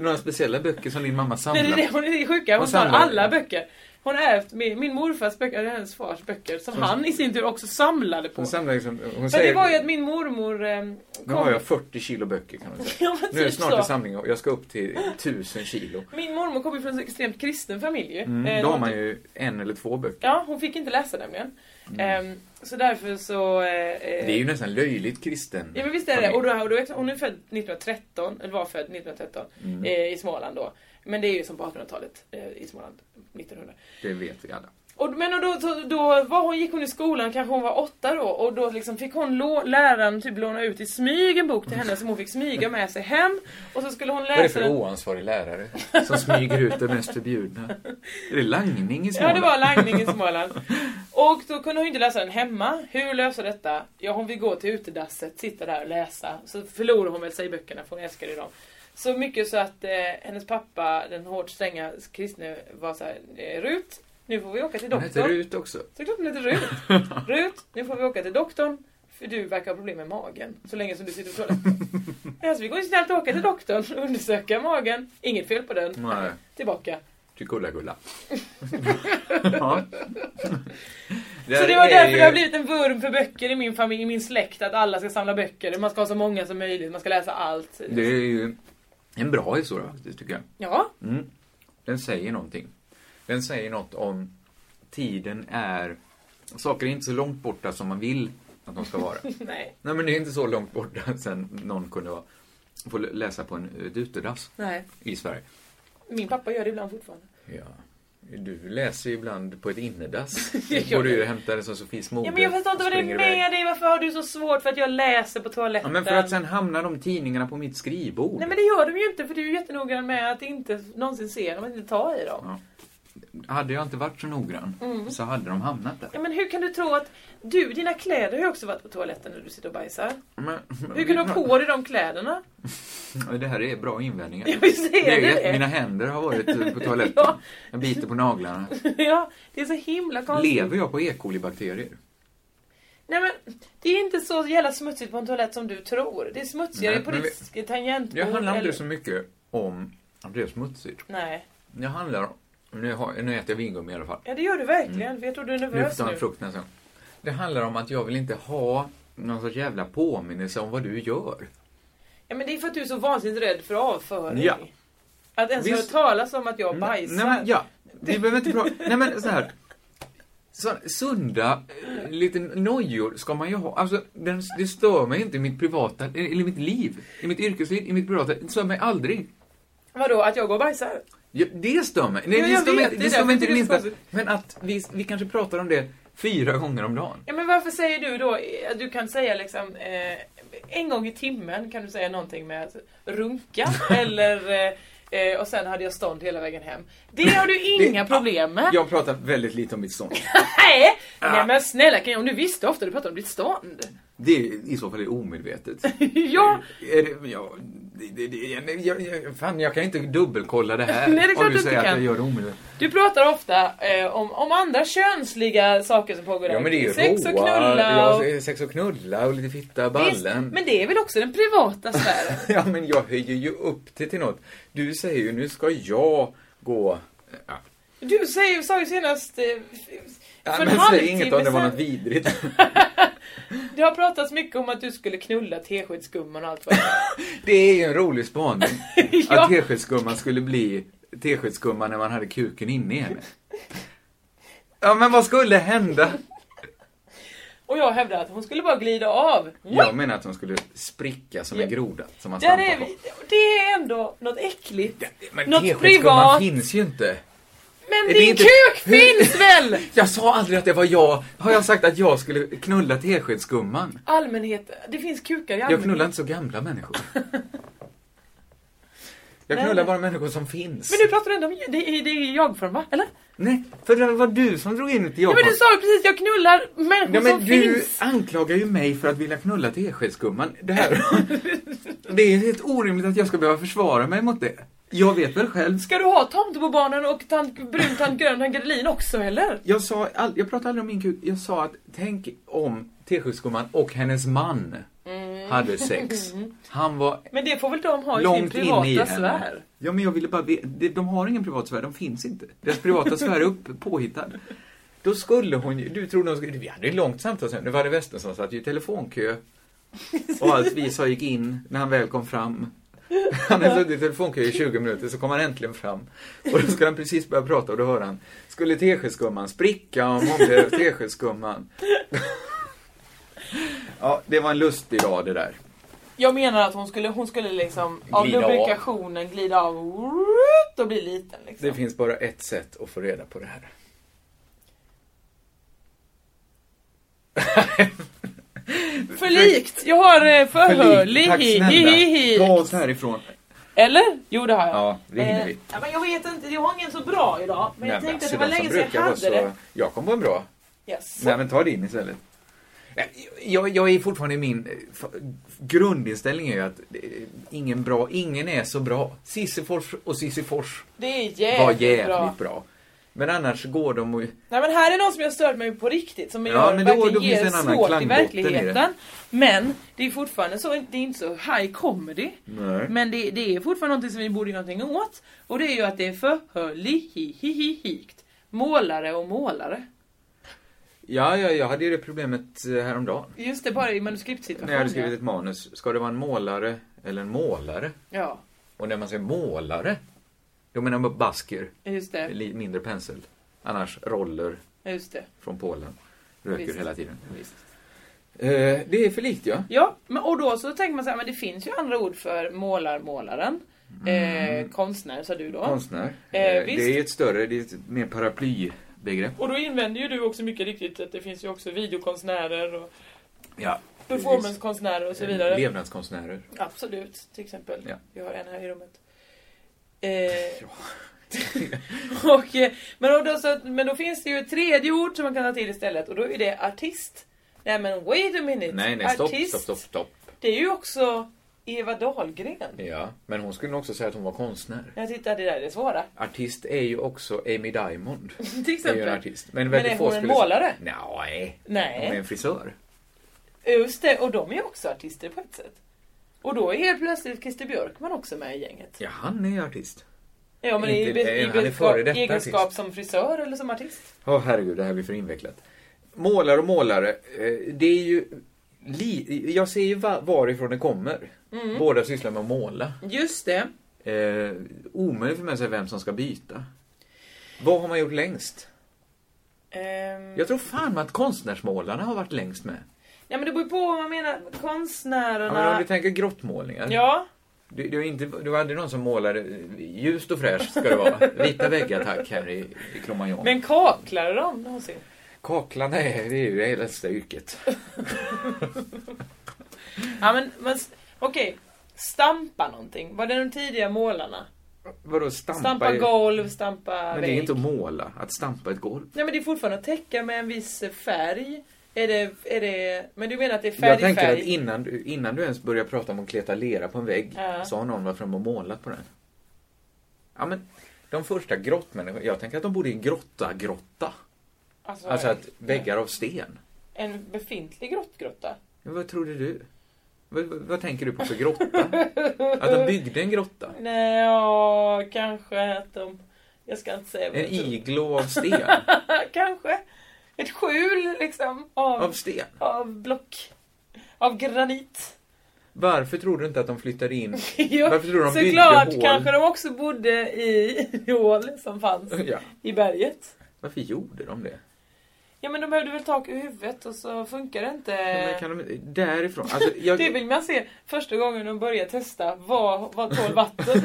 Speaker 3: några speciella böcker som din mamma
Speaker 4: Nej, det är
Speaker 3: samlar.
Speaker 4: det, hon är det sjuka. Hon
Speaker 3: Och
Speaker 4: tar
Speaker 3: samlar.
Speaker 4: alla böcker. Hon har ärvt min, min morfars böcker, eller hennes fars böcker, som han i sin tur också samlade på.
Speaker 3: Hon samlar liksom, hon
Speaker 4: För det var ju
Speaker 3: säger,
Speaker 4: att min mormor ehm,
Speaker 3: nu har jag 40 kilo böcker kan man säga.
Speaker 4: Ja, men
Speaker 3: Nu är det
Speaker 4: typ
Speaker 3: snart liksom-
Speaker 4: så.
Speaker 3: en samling och jag ska upp till 1000 kilo.
Speaker 4: Min mormor kom ju från en extremt kristen familj ju. Eh,
Speaker 3: Mm, då har
Speaker 4: hon
Speaker 3: man
Speaker 4: typ-
Speaker 3: ju en eller två böcker.
Speaker 4: Ja, hon fick inte läsa nämligen. Ehm, så därför så... eh, eh,
Speaker 3: Mm. Det är ju nästan löjligt kristen.
Speaker 4: Ja men visst är det. Och då, och då, hon är född 1913, eller var född 1913
Speaker 3: Mm.
Speaker 4: eh, i Småland då. Men det är ju som på 1800-talet eh, i Småland, 1900.
Speaker 3: Det vet vi alla.
Speaker 4: Och, men och då, då, då var hon, gick hon i skolan, kanske hon var åtta då, och då liksom fick hon lå, läraren typ låna ut i smyg en bok till henne som hon fick smyga med sig hem. Och så skulle hon läsa
Speaker 3: Vad är det för
Speaker 4: den.
Speaker 3: oansvarig lärare som smyger ut det mest förbjudna? Är det langning i
Speaker 4: Ja,
Speaker 3: Småland?
Speaker 4: det var langning i Småland. Och då kunde hon ju inte läsa den hemma. Hur löser detta? Ja, hon vill gå till utedasset, sitta där och läsa. Så förlorar hon väl sig i böckerna, för hon älskade ju dem. Så mycket så att eh, hennes pappa, den hårt stränga kristne, var såhär, eh, Rut, nu får vi åka till
Speaker 3: Hon heter
Speaker 4: doktorn.
Speaker 3: Rut också.
Speaker 4: Så klart hon heter Rut. Rut, nu får vi åka till doktorn. För du verkar ha problem med magen, så länge som du sitter på toaletten. alltså, vi går ju snällt åka till doktorn och undersöka magen. Inget fel på den.
Speaker 3: Nej,
Speaker 4: Tillbaka.
Speaker 3: till Gulla Gulla. ja.
Speaker 4: Så
Speaker 3: här
Speaker 4: det var
Speaker 3: är
Speaker 4: därför
Speaker 3: ju-
Speaker 4: det har blivit en vurm för böcker i min familj, i min släkt, att alla ska samla böcker. Man ska ha så många som möjligt, man ska läsa allt.
Speaker 3: Det är ju en bra historia faktiskt, tycker jag.
Speaker 4: Ja,
Speaker 3: Mm. Den säger någonting. Den säger något om tiden är... Saker är inte så långt borta som man vill att de ska vara.
Speaker 4: nej.
Speaker 3: Nej, men det är inte så långt borta sen någon kunde vara, få läsa på en eh, utedass
Speaker 4: nej.
Speaker 3: i Sverige.
Speaker 4: Min pappa gör det ibland fortfarande.
Speaker 3: Ja. Du läser ju ibland på ett innedass.
Speaker 4: Det
Speaker 3: Då
Speaker 4: gör
Speaker 3: går du ju
Speaker 4: jag.
Speaker 3: och hämtar det som Sofies moder.
Speaker 4: Ja, men jag förstår
Speaker 3: och
Speaker 4: inte vad det är
Speaker 3: springer
Speaker 4: med
Speaker 3: iväg.
Speaker 4: dig, varför har du så svårt för att jag läser på toaletten?
Speaker 3: Ja, men för att sen hamnar de tidningarna på mitt skrivbord.
Speaker 4: Nej men det gör de ju inte, för du är ju jättenoggrann med att inte någonsin se dem, att inte ta i dem.
Speaker 3: Hade jag inte varit så noggrann så hade de hamnat där.
Speaker 4: Mm. Ja men hur kan du tro att du, dina kläder har ju också varit på toaletten när du sitter och bajsar.
Speaker 3: Men,
Speaker 4: Hur kan du ha på dig de kläderna?
Speaker 3: Det här är bra invändningar.
Speaker 4: Ja, visst är
Speaker 3: är ju
Speaker 4: det
Speaker 3: jätte-
Speaker 4: det.
Speaker 3: Mina händer har varit eh, på toaletten.
Speaker 4: Ja.
Speaker 3: Jag biter på naglarna.
Speaker 4: ja, det är så himla konstigt.
Speaker 3: Lever jag på E. coli-bakterier?
Speaker 4: Nej men, det är inte så jävla smutsigt på en toalett som du tror. Det är smutsigare
Speaker 3: Nej,
Speaker 4: på
Speaker 3: men
Speaker 4: ditt tangentbord.
Speaker 3: Jag handlar
Speaker 4: eller-
Speaker 3: inte så mycket om att det är smutsigt.
Speaker 4: Nej.
Speaker 3: Jag handlar om... Nu, har, nu äter jag vingummi i alla fall.
Speaker 4: Ja det gör du verkligen, för jag tror du är
Speaker 3: Mm. Nu
Speaker 4: nervös
Speaker 3: får
Speaker 4: nu.
Speaker 3: jag en frukt nästa gång. Det handlar om att jag vill inte ha någon sorts jävla påminnelse om vad du gör.
Speaker 4: Ja men det är för att du är så vansinnigt rädd för avföring.
Speaker 3: Ja.
Speaker 4: Att ens höra
Speaker 3: Visst.
Speaker 4: talas om att jag bajsar.
Speaker 3: Nej, men, ja. Vi behöver inte prata... Nej, men så här. Så, sunda, eh, lite nojor ska man ju ha. Alltså, den, det stör mig inte i mitt privata, eh, eller i mitt liv. I mitt yrkesliv, i mitt privata. Det stör mig aldrig.
Speaker 4: Vadå, att jag går och bajsar?
Speaker 3: Ja, det stör mig. Nej,
Speaker 4: Ja,
Speaker 3: det
Speaker 4: jag
Speaker 3: stör mig,
Speaker 4: vet,
Speaker 3: det
Speaker 4: det är
Speaker 3: stör mig
Speaker 4: därför
Speaker 3: inte det
Speaker 4: det är så
Speaker 3: minsta.
Speaker 4: konstigt.
Speaker 3: Men att vi, vi kanske pratar om det fyra gånger om dagen.
Speaker 4: Ja men varför säger du då, eh, att du kan säga liksom eh, en gång i timmen kan du säga någonting med att runka eller eh, eh, och sen hade jag stånd hela vägen hem. Det har du
Speaker 3: Det-
Speaker 4: inga problem med.
Speaker 3: Jag pratar väldigt lite om mitt stånd.
Speaker 4: Nej! Nej men snälla kan jag, om du visste hur ofta du pratar om ditt stånd.
Speaker 3: Det är i så fall är omedvetet.
Speaker 4: ja,
Speaker 3: Är det, ja, det, det, det, nej, jag, jag, fan, jag kan inte dubbelkolla det här.
Speaker 4: Nej, det är
Speaker 3: om
Speaker 4: klart du
Speaker 3: du
Speaker 4: inte
Speaker 3: säger att
Speaker 4: kan.
Speaker 3: jag gör det omedvetet.
Speaker 4: du pratar ofta eh, om, om andra könsliga saker som pågår där.
Speaker 3: Ja men det är ju
Speaker 4: Sex
Speaker 3: roa,
Speaker 4: och knulla
Speaker 3: ja,
Speaker 4: och...
Speaker 3: eh, sex och knulla och lite fitta,
Speaker 4: Visst,
Speaker 3: ballen.
Speaker 4: men det är väl också den privata sfären?
Speaker 3: Ja men jag höjer ju upp det till något. Du säger ju nu ska jag gå... Ja.
Speaker 4: Du säger, sa ju senast eh,
Speaker 3: Ja,
Speaker 4: för
Speaker 3: men
Speaker 4: en
Speaker 3: säg
Speaker 4: halvtimme
Speaker 3: inget om det var
Speaker 4: sedan-
Speaker 3: något vidrigt.
Speaker 4: Det har pratats mycket om att du skulle knulla teskedsgumman och allt vad det är.
Speaker 3: Det är ju en rolig spaning.
Speaker 4: Ja.
Speaker 3: Att teskedsgumman skulle bli teskedsgumman när man hade kuken inne i henne. Ja men vad skulle hända?
Speaker 4: Och jag hävdar att hon skulle bara glida av.
Speaker 3: Jag menar att de skulle spricka som en
Speaker 4: Ja.
Speaker 3: groda som man
Speaker 4: Där
Speaker 3: stampar
Speaker 4: är
Speaker 3: på.
Speaker 4: vi. Det är ändå något äckligt.
Speaker 3: Men
Speaker 4: Något
Speaker 3: teskedsgumman
Speaker 4: privat.
Speaker 3: finns ju inte.
Speaker 4: Men
Speaker 3: det
Speaker 4: din
Speaker 3: inte-
Speaker 4: kuk finns väl?
Speaker 3: Jag sa aldrig att det var jag. Har jag sagt att jag skulle knulla teskedsgumman?
Speaker 4: Allmänhet, det finns kukar i
Speaker 3: Jag
Speaker 4: allmänhet.
Speaker 3: knullar inte så gamla människor. Jag knullar bara människor som finns.
Speaker 4: Men nu pratar du ändå om, det är, det är jag-form va? Eller?
Speaker 3: Nej, för det var du som drog in det till
Speaker 4: Ja,
Speaker 3: jag.
Speaker 4: men du sa ju precis, jag knullar människor
Speaker 3: Ja, men
Speaker 4: som
Speaker 3: du
Speaker 4: finns.
Speaker 3: anklagar ju mig för att vilja knulla teskedsgumman. Det, här. det är helt orimligt att jag ska behöva försvara mig mot det. Jag vet väl själv.
Speaker 4: Ska du ha tomtebobarnen och tant, brun, tant, grön, tant Gredelin också eller?
Speaker 3: Jag, sa all, jag pratade aldrig om min kuk. Jag sa att tänk om Teskedsgumman och hennes man hade sex. Han var
Speaker 4: Men det får väl de ha i sin
Speaker 3: långt inne i
Speaker 4: privata
Speaker 3: henne.
Speaker 4: sfär?
Speaker 3: Ja, men jag ville bara veta. de- De har ingen privat sfär, de finns inte. Deras privata sfär är upp, påhittad. Då skulle hon ju, du trodde hon skulle, vi hade ett långt samtal sen. Det var det Western som satt ju i telefonkö. Och allt vi sa gick in när han väl kom fram. Han hade suttit i telefonkö i 20 minuter så kom han äntligen fram. Och då skulle han precis börja prata och då hör han, skulle teskedsgumman spricka om hon blev teskedsgumman? Ja, det var en lustig dag det där.
Speaker 4: Jag menar att hon skulle, hon skulle liksom av
Speaker 3: Glida av.
Speaker 4: lubrikationen glida av och bli liten. Liksom.
Speaker 3: Det finns bara ett sätt att få reda på det här.
Speaker 4: För likt! Jag har eh, förhör.
Speaker 3: Förlik. Tack
Speaker 4: Lihi,
Speaker 3: snälla.
Speaker 4: hihi.
Speaker 3: Ta oss härifrån.
Speaker 4: Eller? Jo det har jag.
Speaker 3: Ja, det hinner vi.
Speaker 4: Eh, ja, men jag vet inte, jag har ingen så bra idag. Men jag tänkte
Speaker 3: alltså,
Speaker 4: att det var
Speaker 3: de som
Speaker 4: länge sedan jag
Speaker 3: brukar vara
Speaker 4: hade det.
Speaker 3: Jag kom på en bra.
Speaker 4: Yes.
Speaker 3: Nej, men ta din istället. Nej, Eh, Jag, jag är fortfarande i min... eh, fa- Grundinställning är ju att eh, ingen bra, ingen är så bra. Sissifors och Sissifors
Speaker 4: Det är
Speaker 3: var
Speaker 4: jävligt,
Speaker 3: jävligt
Speaker 4: bra.
Speaker 3: bra. Men annars går de och...
Speaker 4: Nej men här är någon som jag stört mig på riktigt som
Speaker 3: Ja,
Speaker 4: jag
Speaker 3: men då-
Speaker 4: verkligen
Speaker 3: då finns
Speaker 4: ger
Speaker 3: det en annan
Speaker 4: svårt i
Speaker 3: klangbotten i
Speaker 4: verkligheten.
Speaker 3: det.
Speaker 4: Men det är fortfarande så, det är inte så high comedy.
Speaker 3: Nej.
Speaker 4: Men det, det är fortfarande någonting som vi borde göra någonting åt. Och det är ju att det är förhörlihihihihikt. Målare och målare.
Speaker 3: Ja, ja, jag hade ju det problemet eh, häromdagen.
Speaker 4: Just det, bara
Speaker 3: När
Speaker 4: i
Speaker 3: jag hade
Speaker 4: manuskriptsituationen.
Speaker 3: skrivit ett manus. Ska det vara en målare eller en målare?
Speaker 4: Ja,
Speaker 3: Och när man säger målare, då menar man basker.
Speaker 4: just det.
Speaker 3: Li- Mindre pensel. Annars roller
Speaker 4: Just det.
Speaker 3: från Polen. Röker
Speaker 4: Visst.
Speaker 3: hela tiden.
Speaker 4: Visst.
Speaker 3: Eh, det är för likt ja.
Speaker 4: Ja, men, och då så tänker man så här, men det finns ju andra ord för målarmålaren. Eh, konstnär sa du då.
Speaker 3: Mm. Konstnär.
Speaker 4: Eh,
Speaker 3: Eh,
Speaker 4: visst.
Speaker 3: det är ett större, det är ett mer paraplybegrepp.
Speaker 4: Och då invänder ju du också mycket riktigt att det finns ju också videokonstnärer och
Speaker 3: Ja.
Speaker 4: performancekonstnärer och så
Speaker 3: vidare.
Speaker 4: vidare.
Speaker 3: Levnadskonstnärer.
Speaker 4: Absolut, till exempel.
Speaker 3: Ja.
Speaker 4: Vi har en här i rummet. Eh, och, eh, men, då- då, så, men då finns det ju ett tredje ord som man kan ta till istället och då är det artist. Nej men wait a minute.
Speaker 3: Nej, nej, stopp, stopp, stopp, stopp.
Speaker 4: Det är ju också Eva Dahlgren.
Speaker 3: Ja, men hon skulle nog också säga att hon var konstnär.
Speaker 4: Jag tittar, det där är det svåra.
Speaker 3: Artist är ju också Amy Diamond.
Speaker 4: Till
Speaker 3: Det är ju
Speaker 4: exempel.
Speaker 3: en artist. Men,
Speaker 4: Men
Speaker 3: väldigt
Speaker 4: är
Speaker 3: få
Speaker 4: hon en
Speaker 3: skulle...
Speaker 4: målare?
Speaker 3: Nej. Hon är
Speaker 4: Nej,
Speaker 3: en frisör.
Speaker 4: just det. Och de är ju också artister på ett sätt. Och då är helt plötsligt Christer Björkman också med i gänget.
Speaker 3: Ja, han är ju artist.
Speaker 4: Ja, men
Speaker 3: Inte-
Speaker 4: i, i,
Speaker 3: eh, han är före detta
Speaker 4: egenskap
Speaker 3: artist.
Speaker 4: som frisör eller som artist.
Speaker 3: Ja, herregud, det här blir för invecklat. Målare och målare, eh, det är ju... Li... Jag ser ju va- varifrån det kommer.
Speaker 4: Mm.
Speaker 3: Båda sysslar med att måla.
Speaker 4: Just det.
Speaker 3: Eh, omöjligt för mig att säga vem som ska byta. Vad har man gjort längst?
Speaker 4: Ehm,
Speaker 3: Jag tror fan att konstnärsmålarna har varit längst med.
Speaker 4: Ja men det beror ju på vad man menar.
Speaker 3: Ja, men om
Speaker 4: Konstnärerna.
Speaker 3: du tänker grottmålningar.
Speaker 4: Ja,
Speaker 3: Du, du, är inte, du var aldrig någon som målade eh, ljust och fräscht ska det vara. Vita väggar tack här i, i Cromagnon.
Speaker 4: men kaklar de någonsin?
Speaker 3: kaklarna är, det är ju det äldsta yrket.
Speaker 4: Ja men, men s- okej. Stampa någonting. Var det de tidiga målarna?
Speaker 3: Vadå stampa?
Speaker 4: Stampa
Speaker 3: i-
Speaker 4: golv, stampa
Speaker 3: Men det är
Speaker 4: vägg.
Speaker 3: inte att måla, att stampa ett golv.
Speaker 4: Nej men det är fortfarande att täcka med en viss eh, färg. Är det, är det, men du menar att det är
Speaker 3: Jag
Speaker 4: färg,
Speaker 3: tänker att
Speaker 4: färg?
Speaker 3: innan, du- innan du ens börjar prata om att kleta lera på en vägg
Speaker 4: Ja.
Speaker 3: så har någon varit framme och målat på den. Ja men, de första grottmänniskorna, jag tänker att de bodde i en grotta-grotta.
Speaker 4: Alltså,
Speaker 3: Alltså att väggar av sten.
Speaker 4: en befintlig grottgrotta?
Speaker 3: Men vad trodde du? Vad, vad, vad tänker du på för grotta? Att de byggde en grotta?
Speaker 4: Nej, ja, kanske att de... Jag ska inte säga vad
Speaker 3: En
Speaker 4: jag tror.
Speaker 3: iglo av sten?
Speaker 4: Kanske. Ett skjul liksom av,
Speaker 3: Av
Speaker 4: av...
Speaker 3: sten?
Speaker 4: block. Av granit.
Speaker 3: Varför tror du inte att de flyttade in?
Speaker 4: Jo,
Speaker 3: Varför tror du de byggde
Speaker 4: Såklart
Speaker 3: hål?
Speaker 4: kanske de också bodde i hål som fanns
Speaker 3: Ja.
Speaker 4: i berget.
Speaker 3: Varför gjorde de det?
Speaker 4: Ja men de behövde väl tak över huvudet och så funkar det inte.
Speaker 3: Men kan de, därifrån? Alltså, jag,
Speaker 4: Eh. Det vill man se första gången de börjar testa. Vad, vad tål vatten?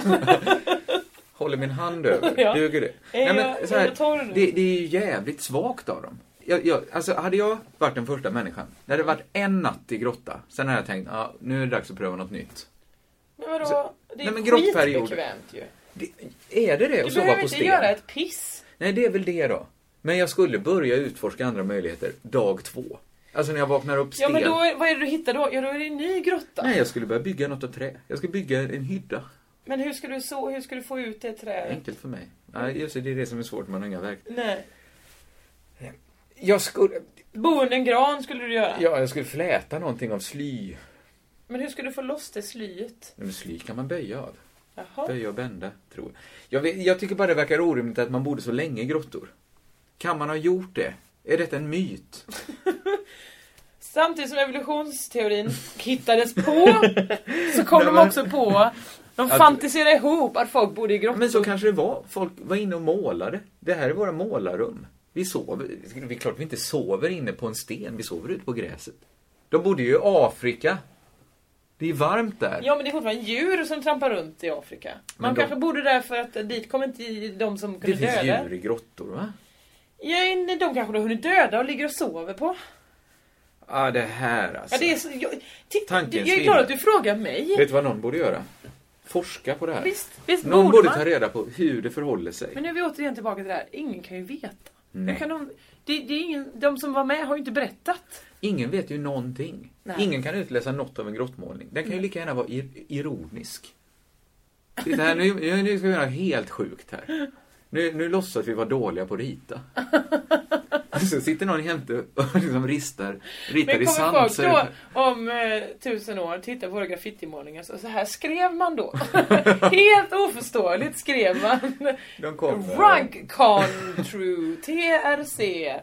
Speaker 3: håller min hand över.
Speaker 4: Ja.
Speaker 3: Duger det?
Speaker 4: Är jag-
Speaker 3: så
Speaker 4: är jag torr nu?
Speaker 3: det, det är ju jävligt svagt av dem. Jag, jag, alltså, hade jag varit den första människan, det hade varit en natt i grotta, sen hade jag tänkt ah, nu är det dags att pröva något nytt.
Speaker 4: men vadå?
Speaker 3: Så-
Speaker 4: det
Speaker 3: Nej,
Speaker 4: är
Speaker 3: men grottfärg-
Speaker 4: skitbekvämt ju.
Speaker 3: Det, är det det?
Speaker 4: Du
Speaker 3: att sova
Speaker 4: behöver
Speaker 3: på
Speaker 4: inte
Speaker 3: sten?
Speaker 4: göra ett piss.
Speaker 3: Nej, det är väl det då. Men jag skulle börja utforska andra möjligheter dag två. Alltså när jag vaknar upp
Speaker 4: Ja
Speaker 3: stel.
Speaker 4: men då, är- vad är det du hittar då? Ja då är det en ny grotta.
Speaker 3: Nej, jag skulle börja bygga något av trä. Jag skulle bygga en hydda.
Speaker 4: Men hur ska du så, hur ska du få ut det trädet?
Speaker 3: Enkelt för mig. Nej, just det, det är det som är svårt, man har inga verk.
Speaker 4: Nej.
Speaker 3: Jag skulle...
Speaker 4: Boende en gran skulle du göra.
Speaker 3: Ja, jag skulle fläta någonting av sly.
Speaker 4: Men hur skulle du få loss det slyet?
Speaker 3: Men sly kan man böja av.
Speaker 4: Jaha.
Speaker 3: Böja och bända, tror jag. Jag, vet, jag tycker bara det verkar orimligt att man bodde så länge i grottor. Kan man ha gjort det? Är detta en myt?
Speaker 4: Samtidigt som evolutionsteorin hittades på så kom
Speaker 3: Nej,
Speaker 4: de
Speaker 3: men-
Speaker 4: också på, de
Speaker 3: Att-
Speaker 4: fantiserade ihop att folk bodde i grottor.
Speaker 3: Men så kanske det var. Folk var inne och målade. Det här är våra målarrum. Vi sover. Det är klart vi inte sover inne på en sten. Vi sover ute på gräset. De bodde ju i Afrika. Det är varmt där.
Speaker 4: Ja men det är fortfarande djur som trampar runt i Afrika. Man
Speaker 3: Men de-
Speaker 4: kanske bodde där för att dit kom inte de som
Speaker 3: det
Speaker 4: kunde
Speaker 3: finns
Speaker 4: döda.
Speaker 3: djur i grottor, va?
Speaker 4: Ja, nej, de kanske har hunnit döda och ligger och sover på.
Speaker 3: Ja, det här alltså.
Speaker 4: Ja, det är så, jag, titta,
Speaker 3: Tanken
Speaker 4: jag är glad
Speaker 3: svindlar.
Speaker 4: att du frågar mig.
Speaker 3: Vet du vad någon borde göra? Forska på det här.
Speaker 4: Visst, visst
Speaker 3: någon
Speaker 4: borde
Speaker 3: borde
Speaker 4: man.
Speaker 3: ta reda på hur det förhåller sig.
Speaker 4: Men nu är vi återigen tillbaka till det här, ingen kan ju veta.
Speaker 3: Nej.
Speaker 4: Hur Kan de, det, det är ingen, de som var med har ju inte berättat.
Speaker 3: Ingen vet ju någonting.
Speaker 4: Nej.
Speaker 3: Ingen kan utläsa något av en grottmålning. Den kan ju lika gärna vara ir- ironisk. Titta här, nu, nu nu ska vi göra något helt sjukt här. Nu, nu låtsas vi vara dåliga på att rita. Så sitter någon jämte och liksom ristar, ritar
Speaker 4: Men
Speaker 3: i
Speaker 4: kommer
Speaker 3: sand.
Speaker 4: folk
Speaker 3: så
Speaker 4: då
Speaker 3: är
Speaker 4: om eh, tusen år titta på våra graffitimålningar så, så här skrev man då. Helt oförståeligt skrev man.
Speaker 3: det- de, kommer,
Speaker 4: Rug con true TRC.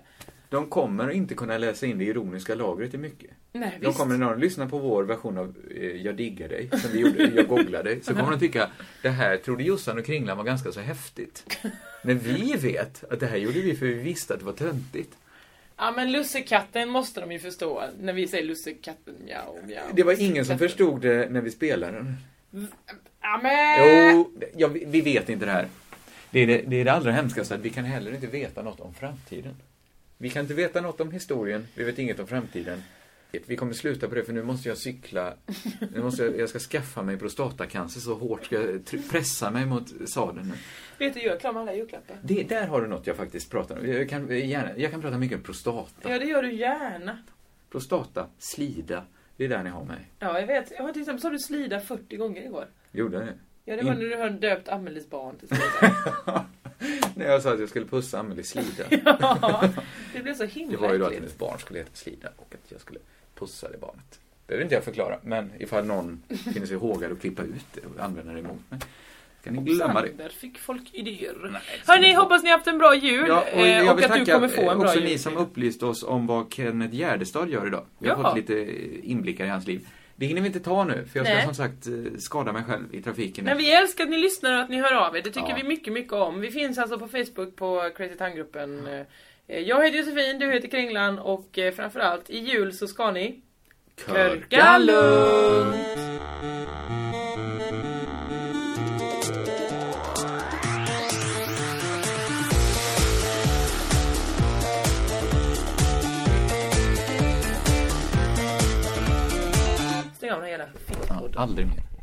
Speaker 3: de kommer inte kunna läsa in det ironiska lagret i mycket.
Speaker 4: Nej
Speaker 3: De
Speaker 4: visst.
Speaker 3: kommer när de lyssnar på vår version av eh, Jag diggar dig, som vi gjorde, Jag googlar dig, så kommer de tycka det här trodde Jossan och Kringlan var ganska så häftigt. Men vi vet att det här gjorde vi för vi visste att det var töntigt.
Speaker 4: Ja men lussekatten måste de ju förstå när vi säger lussekatten mjau mjau.
Speaker 3: Det var ingen som
Speaker 4: Lussekatten.
Speaker 3: förstod det när vi spelade den.
Speaker 4: Ja men!
Speaker 3: Jo, ja, vi- vi vet inte det här. Det är det, det är det allra hemskaste, att vi kan heller inte veta något om framtiden. Vi kan inte veta något om historien, vi vet inget om framtiden. Vi kommer sluta på det för nu måste jag cykla, nu måste jag, jag ska skaffa mig prostatacancer så hårt ska jag try- pressa mig mot sadeln.
Speaker 4: Vet du, jag är klar med alla julklappar.
Speaker 3: Det, där har du något jag faktiskt pratar om. Jag kan, gärna, jag kan prata mycket om prostata.
Speaker 4: Ja det gör du gärna.
Speaker 3: Prostata, slida, det är där ni har mig.
Speaker 4: Ja jag vet, jag har till exempel sa du slida 40 gånger igår.
Speaker 3: Gjorde jag det?
Speaker 4: Ja det var
Speaker 3: In-
Speaker 4: när du hade döpt Amelies barn till slida.
Speaker 3: När jag sa att jag skulle pussa Amelie Slida.
Speaker 4: Ja, det blev så
Speaker 3: Det
Speaker 4: himla
Speaker 3: var ju då att
Speaker 4: äckligt.
Speaker 3: hennes barn skulle heta Slida och att jag skulle pussa det barnet. Behöver inte jag förklara, men ifall någon finner sig ihågad att klippa ut det och använda det emot mig. Kan ni glömma det.
Speaker 4: Där fick folk idéer.
Speaker 3: Nej, det ska
Speaker 4: Hörni,
Speaker 3: ni få.
Speaker 4: hoppas ni haft en bra jul
Speaker 3: Ja, och
Speaker 4: eh,
Speaker 3: jag
Speaker 4: och
Speaker 3: vill
Speaker 4: att du
Speaker 3: tacka
Speaker 4: kommer få en
Speaker 3: eh,
Speaker 4: bra
Speaker 3: också
Speaker 4: jul.
Speaker 3: ni som upplyste oss om vad Kenneth Gärdestad gör idag. Vi har
Speaker 4: Ja.
Speaker 3: fått lite eh, inblickar i hans liv. Det hinner vi inte ta nu, för jag ska
Speaker 4: Nej.
Speaker 3: som sagt eh, skada mig själv i trafiken.
Speaker 4: Men vi älskar att ni lyssnar och att ni hör av er. Det tycker
Speaker 3: Ja.
Speaker 4: vi mycket, mycket om. Vi finns alltså på Facebook på Crazy Town-gruppen. Eh, Jag heter Josefin, du heter Kringlan och eh, framförallt i jul så ska ni körka lugnt! Stäng av den här jävla
Speaker 3: Ja,
Speaker 4: fittpodden.
Speaker 3: aldrig mer.